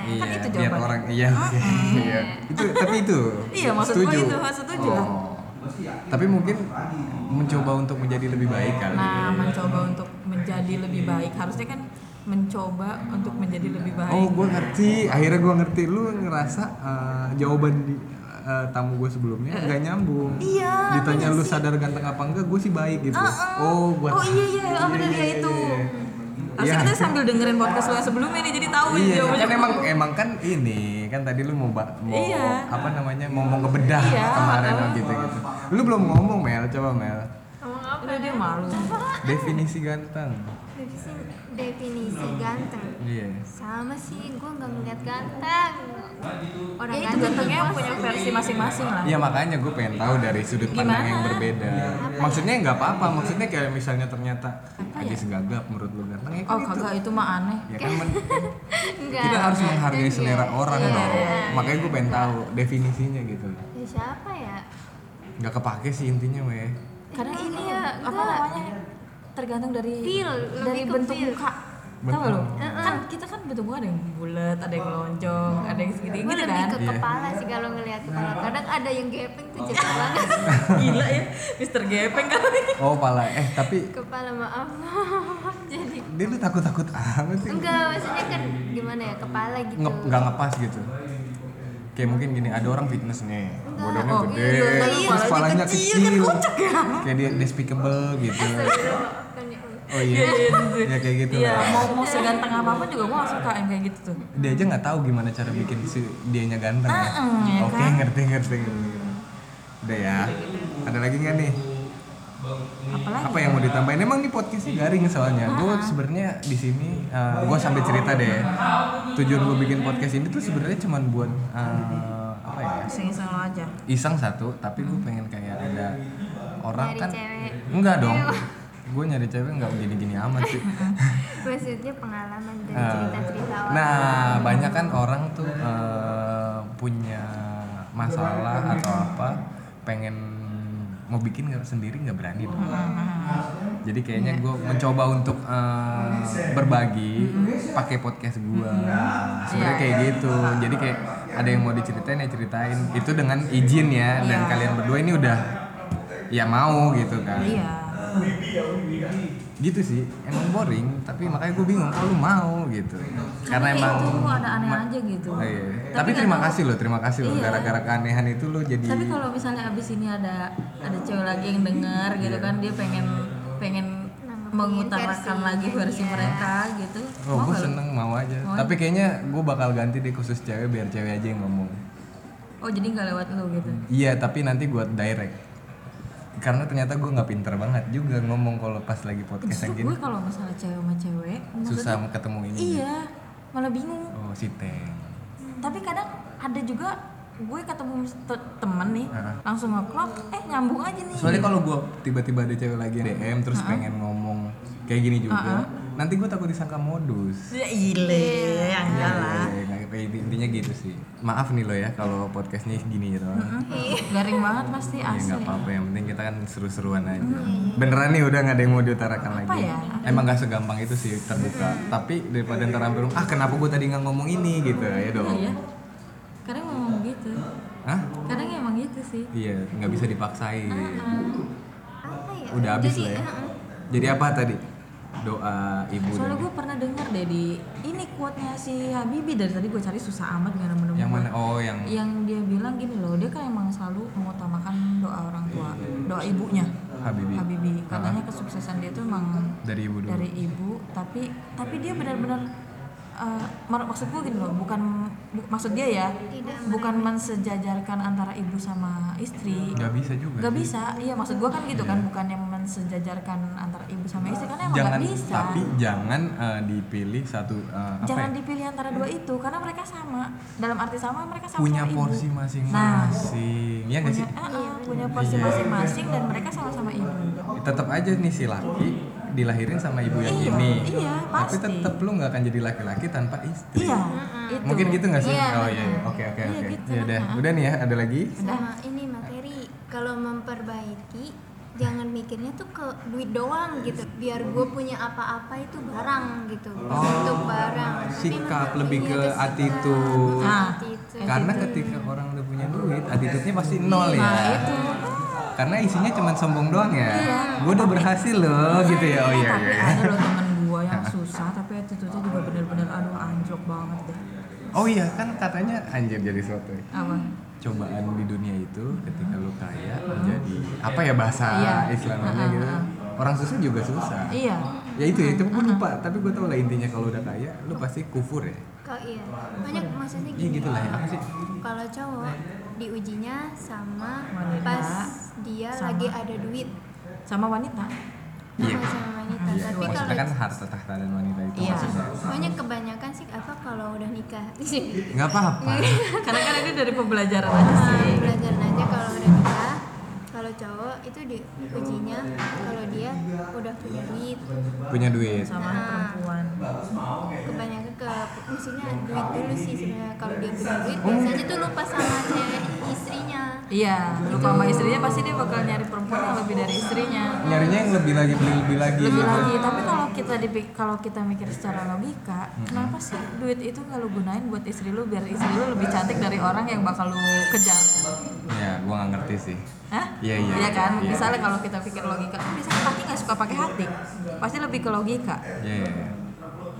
B: kan itu
A: Iya, biar
B: jawabannya.
A: orang iya. Iya. Itu tapi itu.
B: Iya, maksud gua itu, maksud setuju lah.
A: Oh. Tapi mungkin mencoba untuk menjadi lebih baik kali.
B: Nah, mencoba untuk menjadi lebih baik harusnya kan mencoba untuk menjadi lebih baik.
A: Oh, gue ngerti. Akhirnya gue ngerti. Lu ngerasa eh, jawaban di eh, tamu gue sebelumnya nggak nyambung.
B: Iya,
A: Ditanya
B: bener
A: lu
B: sih.
A: sadar ganteng apa enggak, gue sih baik gitu.
B: Ah, ah.
A: Oh, gue.
B: Oh, iya, iya, ah, bener, ya itu.
A: iya.
B: Harusnya kita sambil dengerin podcast lo yang sebelumnya nih jadi tahu nih
A: Oh, Iya,
B: jawabannya.
A: kan emang emang kan ini kan tadi lu mau ba- mau
B: Iya.
A: apa namanya ngomong kebedah
B: Iya,
A: kemarin
B: heeh.
A: gitu gitu. Lu belum ngomong Mel, coba Mel.
D: Ngomong apa?
B: Udah dia malu.
A: Definisi ganteng.
C: definisi, definisi ganteng
A: Iya.
C: sama sih gue nggak ngeliat ganteng orang
B: Ya itu gantengnya punya versi masing-masing lah.
A: Iya makanya gue pengen tahu dari sudut pandang
B: Gimana? Iya.
A: yang berbeda. Maksudnya nggak apa-apa, maksudnya kayak misalnya ternyata aja segagap menurut lu ganteng ya kan
B: Oh
A: itu.
B: kagak itu mah aneh.
A: Ya kan men-
C: Enggak,
A: kita harus
C: ganteng
A: menghargai
C: ya.
A: selera orang
C: Iya.
A: dong. Makanya gue pengen tahu definisinya gitu.
C: ya siapa ya
A: Nggak kepake sih intinya Mel.
B: Kadang
C: Iya,
B: ini
C: iya,
B: apa
C: enggak.
B: namanya tergantung dari
C: Feel,
B: dari
C: lebih ke
B: bentuk
C: feel.
B: muka.
A: Bentuk.
B: Tahu lo?
C: Heeh.
B: Kan kita kan bentuk muka ada yang bulat, ada yang lonjong, ada yang segitiga
C: gue
B: gitu
C: lebih
B: kan.
C: ke
A: Iya. Oh.
C: kepala sih kalau ngelihat kepala kadang ada yang gepeng tuh jelek banget
B: Gila ya, Mister Gepeng kan. kali.
A: Oh pala eh tapi
C: kepala maaf jadi
A: dia tuh takut-takut amat sih
C: enggak maksudnya kan gimana ya kepala gitu
A: Nge- nggak ngepas gitu kayak mungkin gini ada orang fitness nih badannya
B: Oh,
A: gede
B: iya, iya,
A: terus
B: kepalanya
A: kepalanya
B: kecil,
A: kecil,
B: kan kocak ya.
A: kayak dia despicable gitu
C: Bukan ya, udah.
A: oh iya ya kayak gitu
B: Iya,
A: lah.
B: mau mau seganteng apapun juga gue gak suka yang kayak gitu tuh.
A: dia aja nggak tahu gimana cara bikin si dianya ganteng ya
B: Mm-mm, ya
A: oke
B: kan?
A: ngerti ngerti ngerti. udah ya ada lagi nggak nih
B: Apalagi ya? Ah,
A: apa yang mau ditambahin emang nih podcastnya garing soalnya gue sebenarnya di sini gue sampai cerita deh tujuan gue bikin podcast ini tuh sebenarnya cuman buat eh, apa ya
B: iseng-iseng lo aja.
A: iseng satu tapi gue pengen kayak ada orang
C: Nyari
A: kan
C: cewek.
A: enggak dong gue nyari cewek nggak gini-gini amat sih
C: maksudnya pengalaman dari
A: Eh,
C: cerita-cerita orang
A: nah banyak kan orang tuh eh, punya masalah atau apa pengen mau bikin nggak sendiri nggak berani dong.
C: Hmm,
A: jadi kayaknya
C: Iya.
A: gue mencoba untuk eh, berbagi
C: Hmm.
A: pakai podcast gue sebenarnya kayak
C: Iya,
A: gitu jadi kayak ada yang mau diceritain ya ceritain itu dengan izin ya
C: Iya.
A: dan kalian berdua ini udah ya mau gitu kan
B: Iya.
A: gitu sih emang boring tapi makanya gue bingung kalau lu mau gitu karena emang
B: itu ada aneh
A: ma-
B: aja gitu.
A: Oh, iya. tapi terima kasih loh terima kasih loh
B: Iya.
A: gara-gara keanehan itu lo jadi
B: Tapi kalau misalnya abis ini ada ada cewek lagi yang denger gitu
A: Iya.
B: kan dia pengen pengen
C: Nanggepin
B: mengutarakan
C: versi.
B: lagi versi mereka gitu.
A: oh
B: Mau
A: gue
B: nggak lu?
A: seneng mau aja
B: Mau
A: tapi kayaknya gue bakal ganti deh khusus cewek biar cewek aja yang ngomong
B: Oh jadi nggak lewat lu gitu.
A: iya tapi nanti gue direct karena ternyata gue nggak pinter banget juga ngomong kalau pas lagi podcast yang
B: Justru
A: gini
B: gue kalau masalah cewek sama cewek maksudnya-
A: susah ketemu ini
B: Iya, malah bingung.
A: oh si Teng
B: Tapi kadang ada juga gue ketemu te- temen nih
A: Heeh.
B: langsung ngeklop eh nyambung aja nih
A: soalnya kalau gue tiba-tiba ada cewek lagi DM terus pengen ngomong kayak gini juga nanti gue takut disangka modus
B: ya ile ya enggak lah
A: Iya, iya, iya. intinya gitu sih maaf nih lo ya kalau podcastnya gini gitu
B: garing banget pasti
A: ya
B: asli
A: nggak apa-apa yang penting kita kan seru-seruan aja beneran nih udah nggak ada yang mau diutarakan lagi
B: ya?
A: emang nggak segampang itu sih terbuka tapi daripada ntar hampir ah kenapa gue tadi nggak ngomong ini gitu ya dong
B: Iya. kadang ngomong gitu
A: Hah?
B: kadang emang gitu sih
A: iya nggak bisa dipaksain
C: apa ya
A: udah habis
C: Jadi,
A: lah ya
C: eh,
A: jadi apa tadi doa ibu
B: soalnya
A: dan
B: gue pernah dengar deh di ini quote-nya si Habibie dari tadi gue cari susah amat gak nemu
A: yang mana oh yang
B: yang dia bilang gini loh dia kan emang selalu mengutamakan doa orang tua doa ibunya
A: Habibie.
B: Habibie katanya kesuksesan dia tuh emang
A: dari ibu dulu
B: dari ibu tapi tapi dia benar-benar eh, mar- maksud gue gini loh bukan bu- maksud dia ya bukan mensejajarkan antara ibu sama istri
A: nggak bisa juga
B: nggak
A: sih.
B: bisa iya maksud gue kan gitu kan bukan yang mensejajarkan antara ibu sama istri karena emang
A: jangan
B: nggak bisa
A: tapi jangan eh, dipilih satu eh, apa
B: jangan
A: ya?
B: dipilih antara dua itu karena mereka sama dalam arti sama mereka sama
A: punya porsi masing-masing ya nggak
B: punya,
A: sih Iya.
B: eh, eh, punya porsi masing-masing dan mereka sama-sama ibu
A: tetap aja nih si laki dilahirin sama ibu yang
B: Iya,
A: ini
B: iya,
A: tapi
B: pasti.
A: tetap lu nggak akan jadi laki-laki tanpa istri
B: iya itu
A: mungkin gitu nggak sih
C: Iya,
A: oh iya iya. oke oke
B: Iya,
A: oke
B: gitu.
A: ya udah udah nih ya ada lagi
C: sama ini materi kalau memperbaiki jangan mikirnya tuh ke duit doang gitu biar gue punya apa-apa itu barang gitu bentuk barang Tapi
A: Oh, sikap,
C: emang
A: lebih
C: iya,
A: ke
C: ada sikap,
A: attitude.
C: lebih
B: Ah,
C: attitude.
A: karena ketika orang udah punya duit attitude-nya pasti nol ya
B: nah itu
A: karena isinya cuma sombong doang ya gue udah berhasil loh gitu ya oh iya
B: tapi
A: iya Nah.
B: ada loh temen gue yang susah tapi attitude-nya banget deh
A: Oh iya kan katanya anjir jadi sesuatu ya.
B: apa
A: cobaan di dunia itu ketika lu kaya menjadi apa ya bahasa
B: Iya.
A: Islamannya
B: Ah, ah,
A: gitu
B: ah.
A: orang susah juga susah
B: iya Ah,
A: ya itu ya itu gue lupa tapi gue tau lah intinya kalau udah kaya lu pasti kufur ya
C: Kalau iya, banyak maksudnya
A: Iya
C: gini.
A: gitu lah ya apa sih
C: Kalau cowok diujinya sama
B: Wanita,
C: pas dia
B: sama.
C: lagi ada duit
B: sama wanita
A: Iya.
C: bukan sama wanita.
B: Iya,
C: Tapi
A: maksudnya
C: kalau
A: kan harta tahta dan wanita itu
B: Iya.
A: maksudnya
C: pokoknya kebanyakan sih apa kalau udah nikah. Iya.
A: nggak apa-apa
B: karena kan itu dari pembelajaran aja
C: Iya.
B: sih
C: Pelajaran Ah, aja kalau udah nikah. Kalau cowok itu diujinya kalau dia udah punya duit.
A: punya duit
B: sama
C: Nah.
B: perempuan
C: Kebanyakan ke maksudnya duit dulu sih sebenarnya kalau dia punya duit biasanya tuh lupa sama cewek istrinya.
B: iya lupa sama istrinya pasti dia bakal nyari perempuan yang lebih dari istrinya
A: nyarinya yang lebih lagi beli lebih lagi
B: lebih
A: gitu.
B: lagi tapi kalau kita dipik- kalau kita mikir secara logika kenapa sih duit itu kalau gunain buat istri lu biar istri lu lebih cantik dari orang yang bakal lu kejar
A: ya gue nggak ngerti sih
B: Hah?
A: Iya, iya,
B: kan?
A: iya.
B: Misalnya kalau kita pikir logika, kan biasanya pasti nggak suka pakai hati. Pasti lebih ke logika.
A: ya ya ya.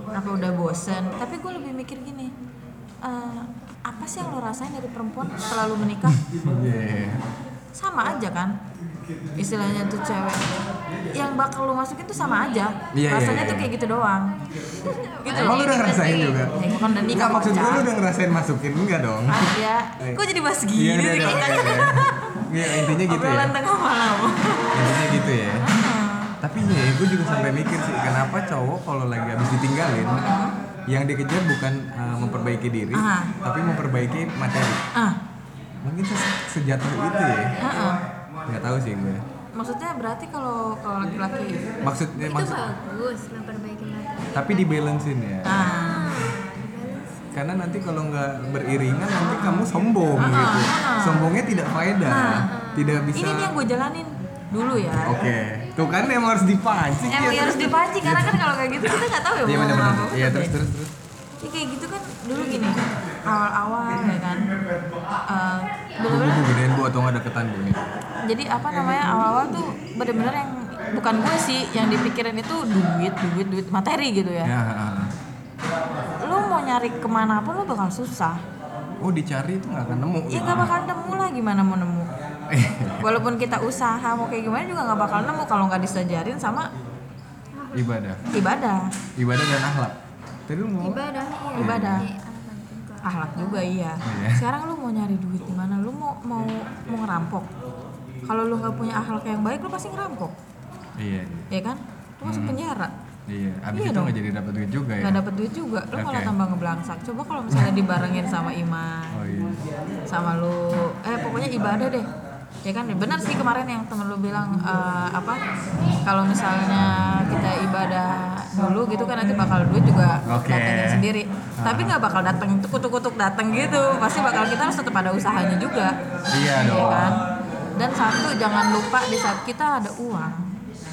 B: Kenapa udah bosen? Tapi gue lebih mikir gini, eh, apa sih yang lo rasain dari perempuan setelah lo menikah?
A: Iya, iya, iya.
B: Sama aja kan? Istilahnya tuh cewek yang bakal lo masukin tuh sama aja.
A: Iya, iya,
B: Rasanya
A: iya.
B: tuh kayak gitu doang. gitu
A: Emang lu
B: loh.
A: udah ngerasain juga?
B: Ya, gua kan udah nikah, Ah.
A: Enggak, maksud gue
B: pacar.
A: lu udah ngerasain masukin enggak dong?
B: Ada.
A: Eh.
B: Kok jadi bahas gini
A: Iya, udah,
B: sih?
A: udah, oke, oke. Iya, intinya gitu ya.
B: Obrolan tengah malam.
A: Intinya gitu ya. Tapi ya, gue juga sampai mikir sih kenapa cowok kalau lagi habis ditinggalin
B: Uh-huh.
A: yang dikejar bukan uh, memperbaiki diri,
B: Ah.
A: tapi memperbaiki materi.
B: Ah,
A: Mungkin se- sejatuh itu ya.
B: ah, ah.
A: Nggak tahu sih gue.
B: Maksudnya berarti kalau kalau laki-laki
A: Maksudnya
C: Itu
A: maksud
C: bagus memperbaiki materi.
A: tapi dibalancein ya.
B: ah,
A: Karena nanti kalau nggak beriringan nanti kamu sombong gitu. Sombongnya tidak faedah. Tidak bisa
B: Uh-huh. ini nih yang gue jalanin dulu ya.
A: Oke, tuh kan emang harus dipancing
B: Emang
A: ya.
B: harus dipancing karena kan kalau kayak gitu kita nggak tahu ya
A: Iya
B: mau
A: benar benar.
B: ngomong apa.
A: Iya terus terus terus.
B: Ya, kayak gitu kan dulu gini awal-awal ya kan. Eh,
A: Bu, bu,
B: bener-bener
A: bu, gedein bu atau nggak deketan bu nih?
B: jadi apa namanya awal-awal tuh bener-bener yang bukan gue sih yang dipikirin itu duit duit duit materi gitu ya.
A: Ya. ha, ha.
B: Lu mau nyari kemana pun lu bakal susah.
A: Oh dicari itu nggak akan nemu.
B: Ya nggak bakal nemu lah gimana mau nemu. Walaupun kita usaha mau kayak gimana juga nggak bakal nemu kalau nggak disajarin sama
A: Ibadah,
B: ibadah.
A: ibadah dan akhlak. Tadi lu mau?
C: Ibadah iya.
B: Ibadah.
C: Iya, aman juga.
B: akhlak juga iya.
A: Iya.
B: Sekarang lu mau nyari duit di mana? Lu mau mau mau ngerampok. Kalau lu nggak punya akhlak yang baik, lu pasti ngerampok,
A: Iya iya.
B: ya kan? Lu masuk penjara,
A: Iya. Abis
B: Iya
A: itu
B: dong.
A: nggak jadi dapat duit juga ya.
B: nggak dapet duit juga, lu malah
A: Oke.
B: tambah ngeblangsak. Coba kalau misalnya dibarengin sama iman,
A: Oh iya.
B: sama lu, eh pokoknya ibadah deh, ya kan? Benar sih kemarin yang temen lu bilang eh, apa? Kalau misalnya kita ibadah dulu gitu kan nanti bakal duit juga
A: Oke. Ah.
B: datengin sendiri. Tapi nggak bakal dateng kutuk-kutuk dateng gitu, pasti bakal kita harus tetap ada usahanya juga.
A: Iya
B: ya
A: dong.
B: kan? Dan satu jangan lupa di saat kita ada uang,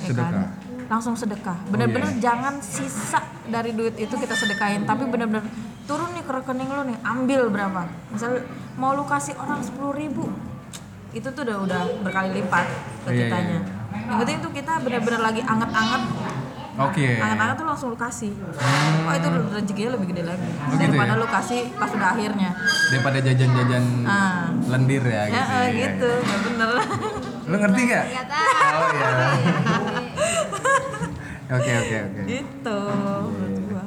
B: ya kan?
A: Sedekah.
B: Langsung sedekah. Bener-bener
A: Oh, iya.
B: jangan sisa dari duit itu kita sedekahin, tapi bener-bener turun nih ke rekening lu nih, ambil berapa? Misal mau lu kasih orang sepuluh ribu, itu tuh udah udah berkali lipat ke
A: Iya, iya,
B: kitanya. Yang penting tuh kita bener-bener lagi anget-anget,
A: Oke.
B: anget-anget tuh langsung lu kasih. Wah itu rezekinya lebih gede lagi
A: Oh, gitu
B: daripada
A: ya?
B: lu kasih pas udah akhirnya.
A: Daripada jajan-jajan
B: Ah.
A: lendir ya
B: Ya,
A: gitu.
B: eh,
A: Iya,
B: gitu, nggak bener.
A: iya. Lu ngerti nggak?
C: Nggak tahu.
A: Oh iya. Oke oke oke.
B: gitu menurut gua.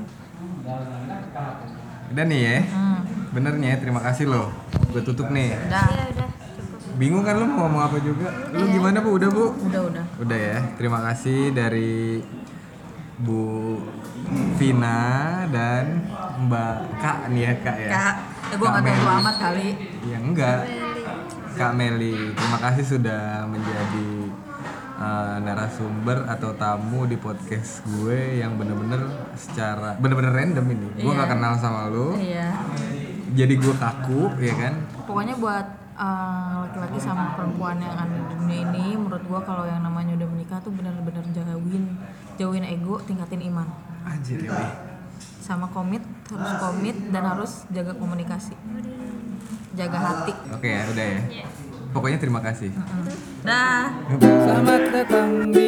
A: Udah nih ya.
B: Hmm.
A: Bener nih ya, terima kasih loh. Gue tutup nih.
B: Udah,
C: Iya, udah cukup.
A: Bingung kan lu mau ngomong apa juga? Lu
B: Iya.
A: gimana bu? Udah bu?
B: udah, udah.
A: Udah ya. Terima kasih dari Bu Vina dan Mbak Kak nih ya Kak ya.
B: Kak, eh, gua nggak tahu
A: Meli.
B: amat kali.
A: Ya enggak. Kak Meli, terima kasih sudah menjadi eh, narasumber atau tamu di podcast gue yang bener-bener secara bener-bener random ini. Gue
B: Iya.
A: nggak kenal sama lu,
B: Iya.
A: jadi gue kaku, ya kan?
B: Pokoknya buat eh, laki-laki sama perempuan yang ada di dunia ini, menurut gua kalau yang namanya udah menikah tuh benar-benar jauhin, jauhin ego, tingkatin iman,
A: Anjir, yoi.
B: sama komit, harus komit dan harus jaga komunikasi, jaga hati. Iya. Hmm.
A: Oke ya, udah ya. Pokoknya terima kasih.
B: Dah.
E: Selamat datang di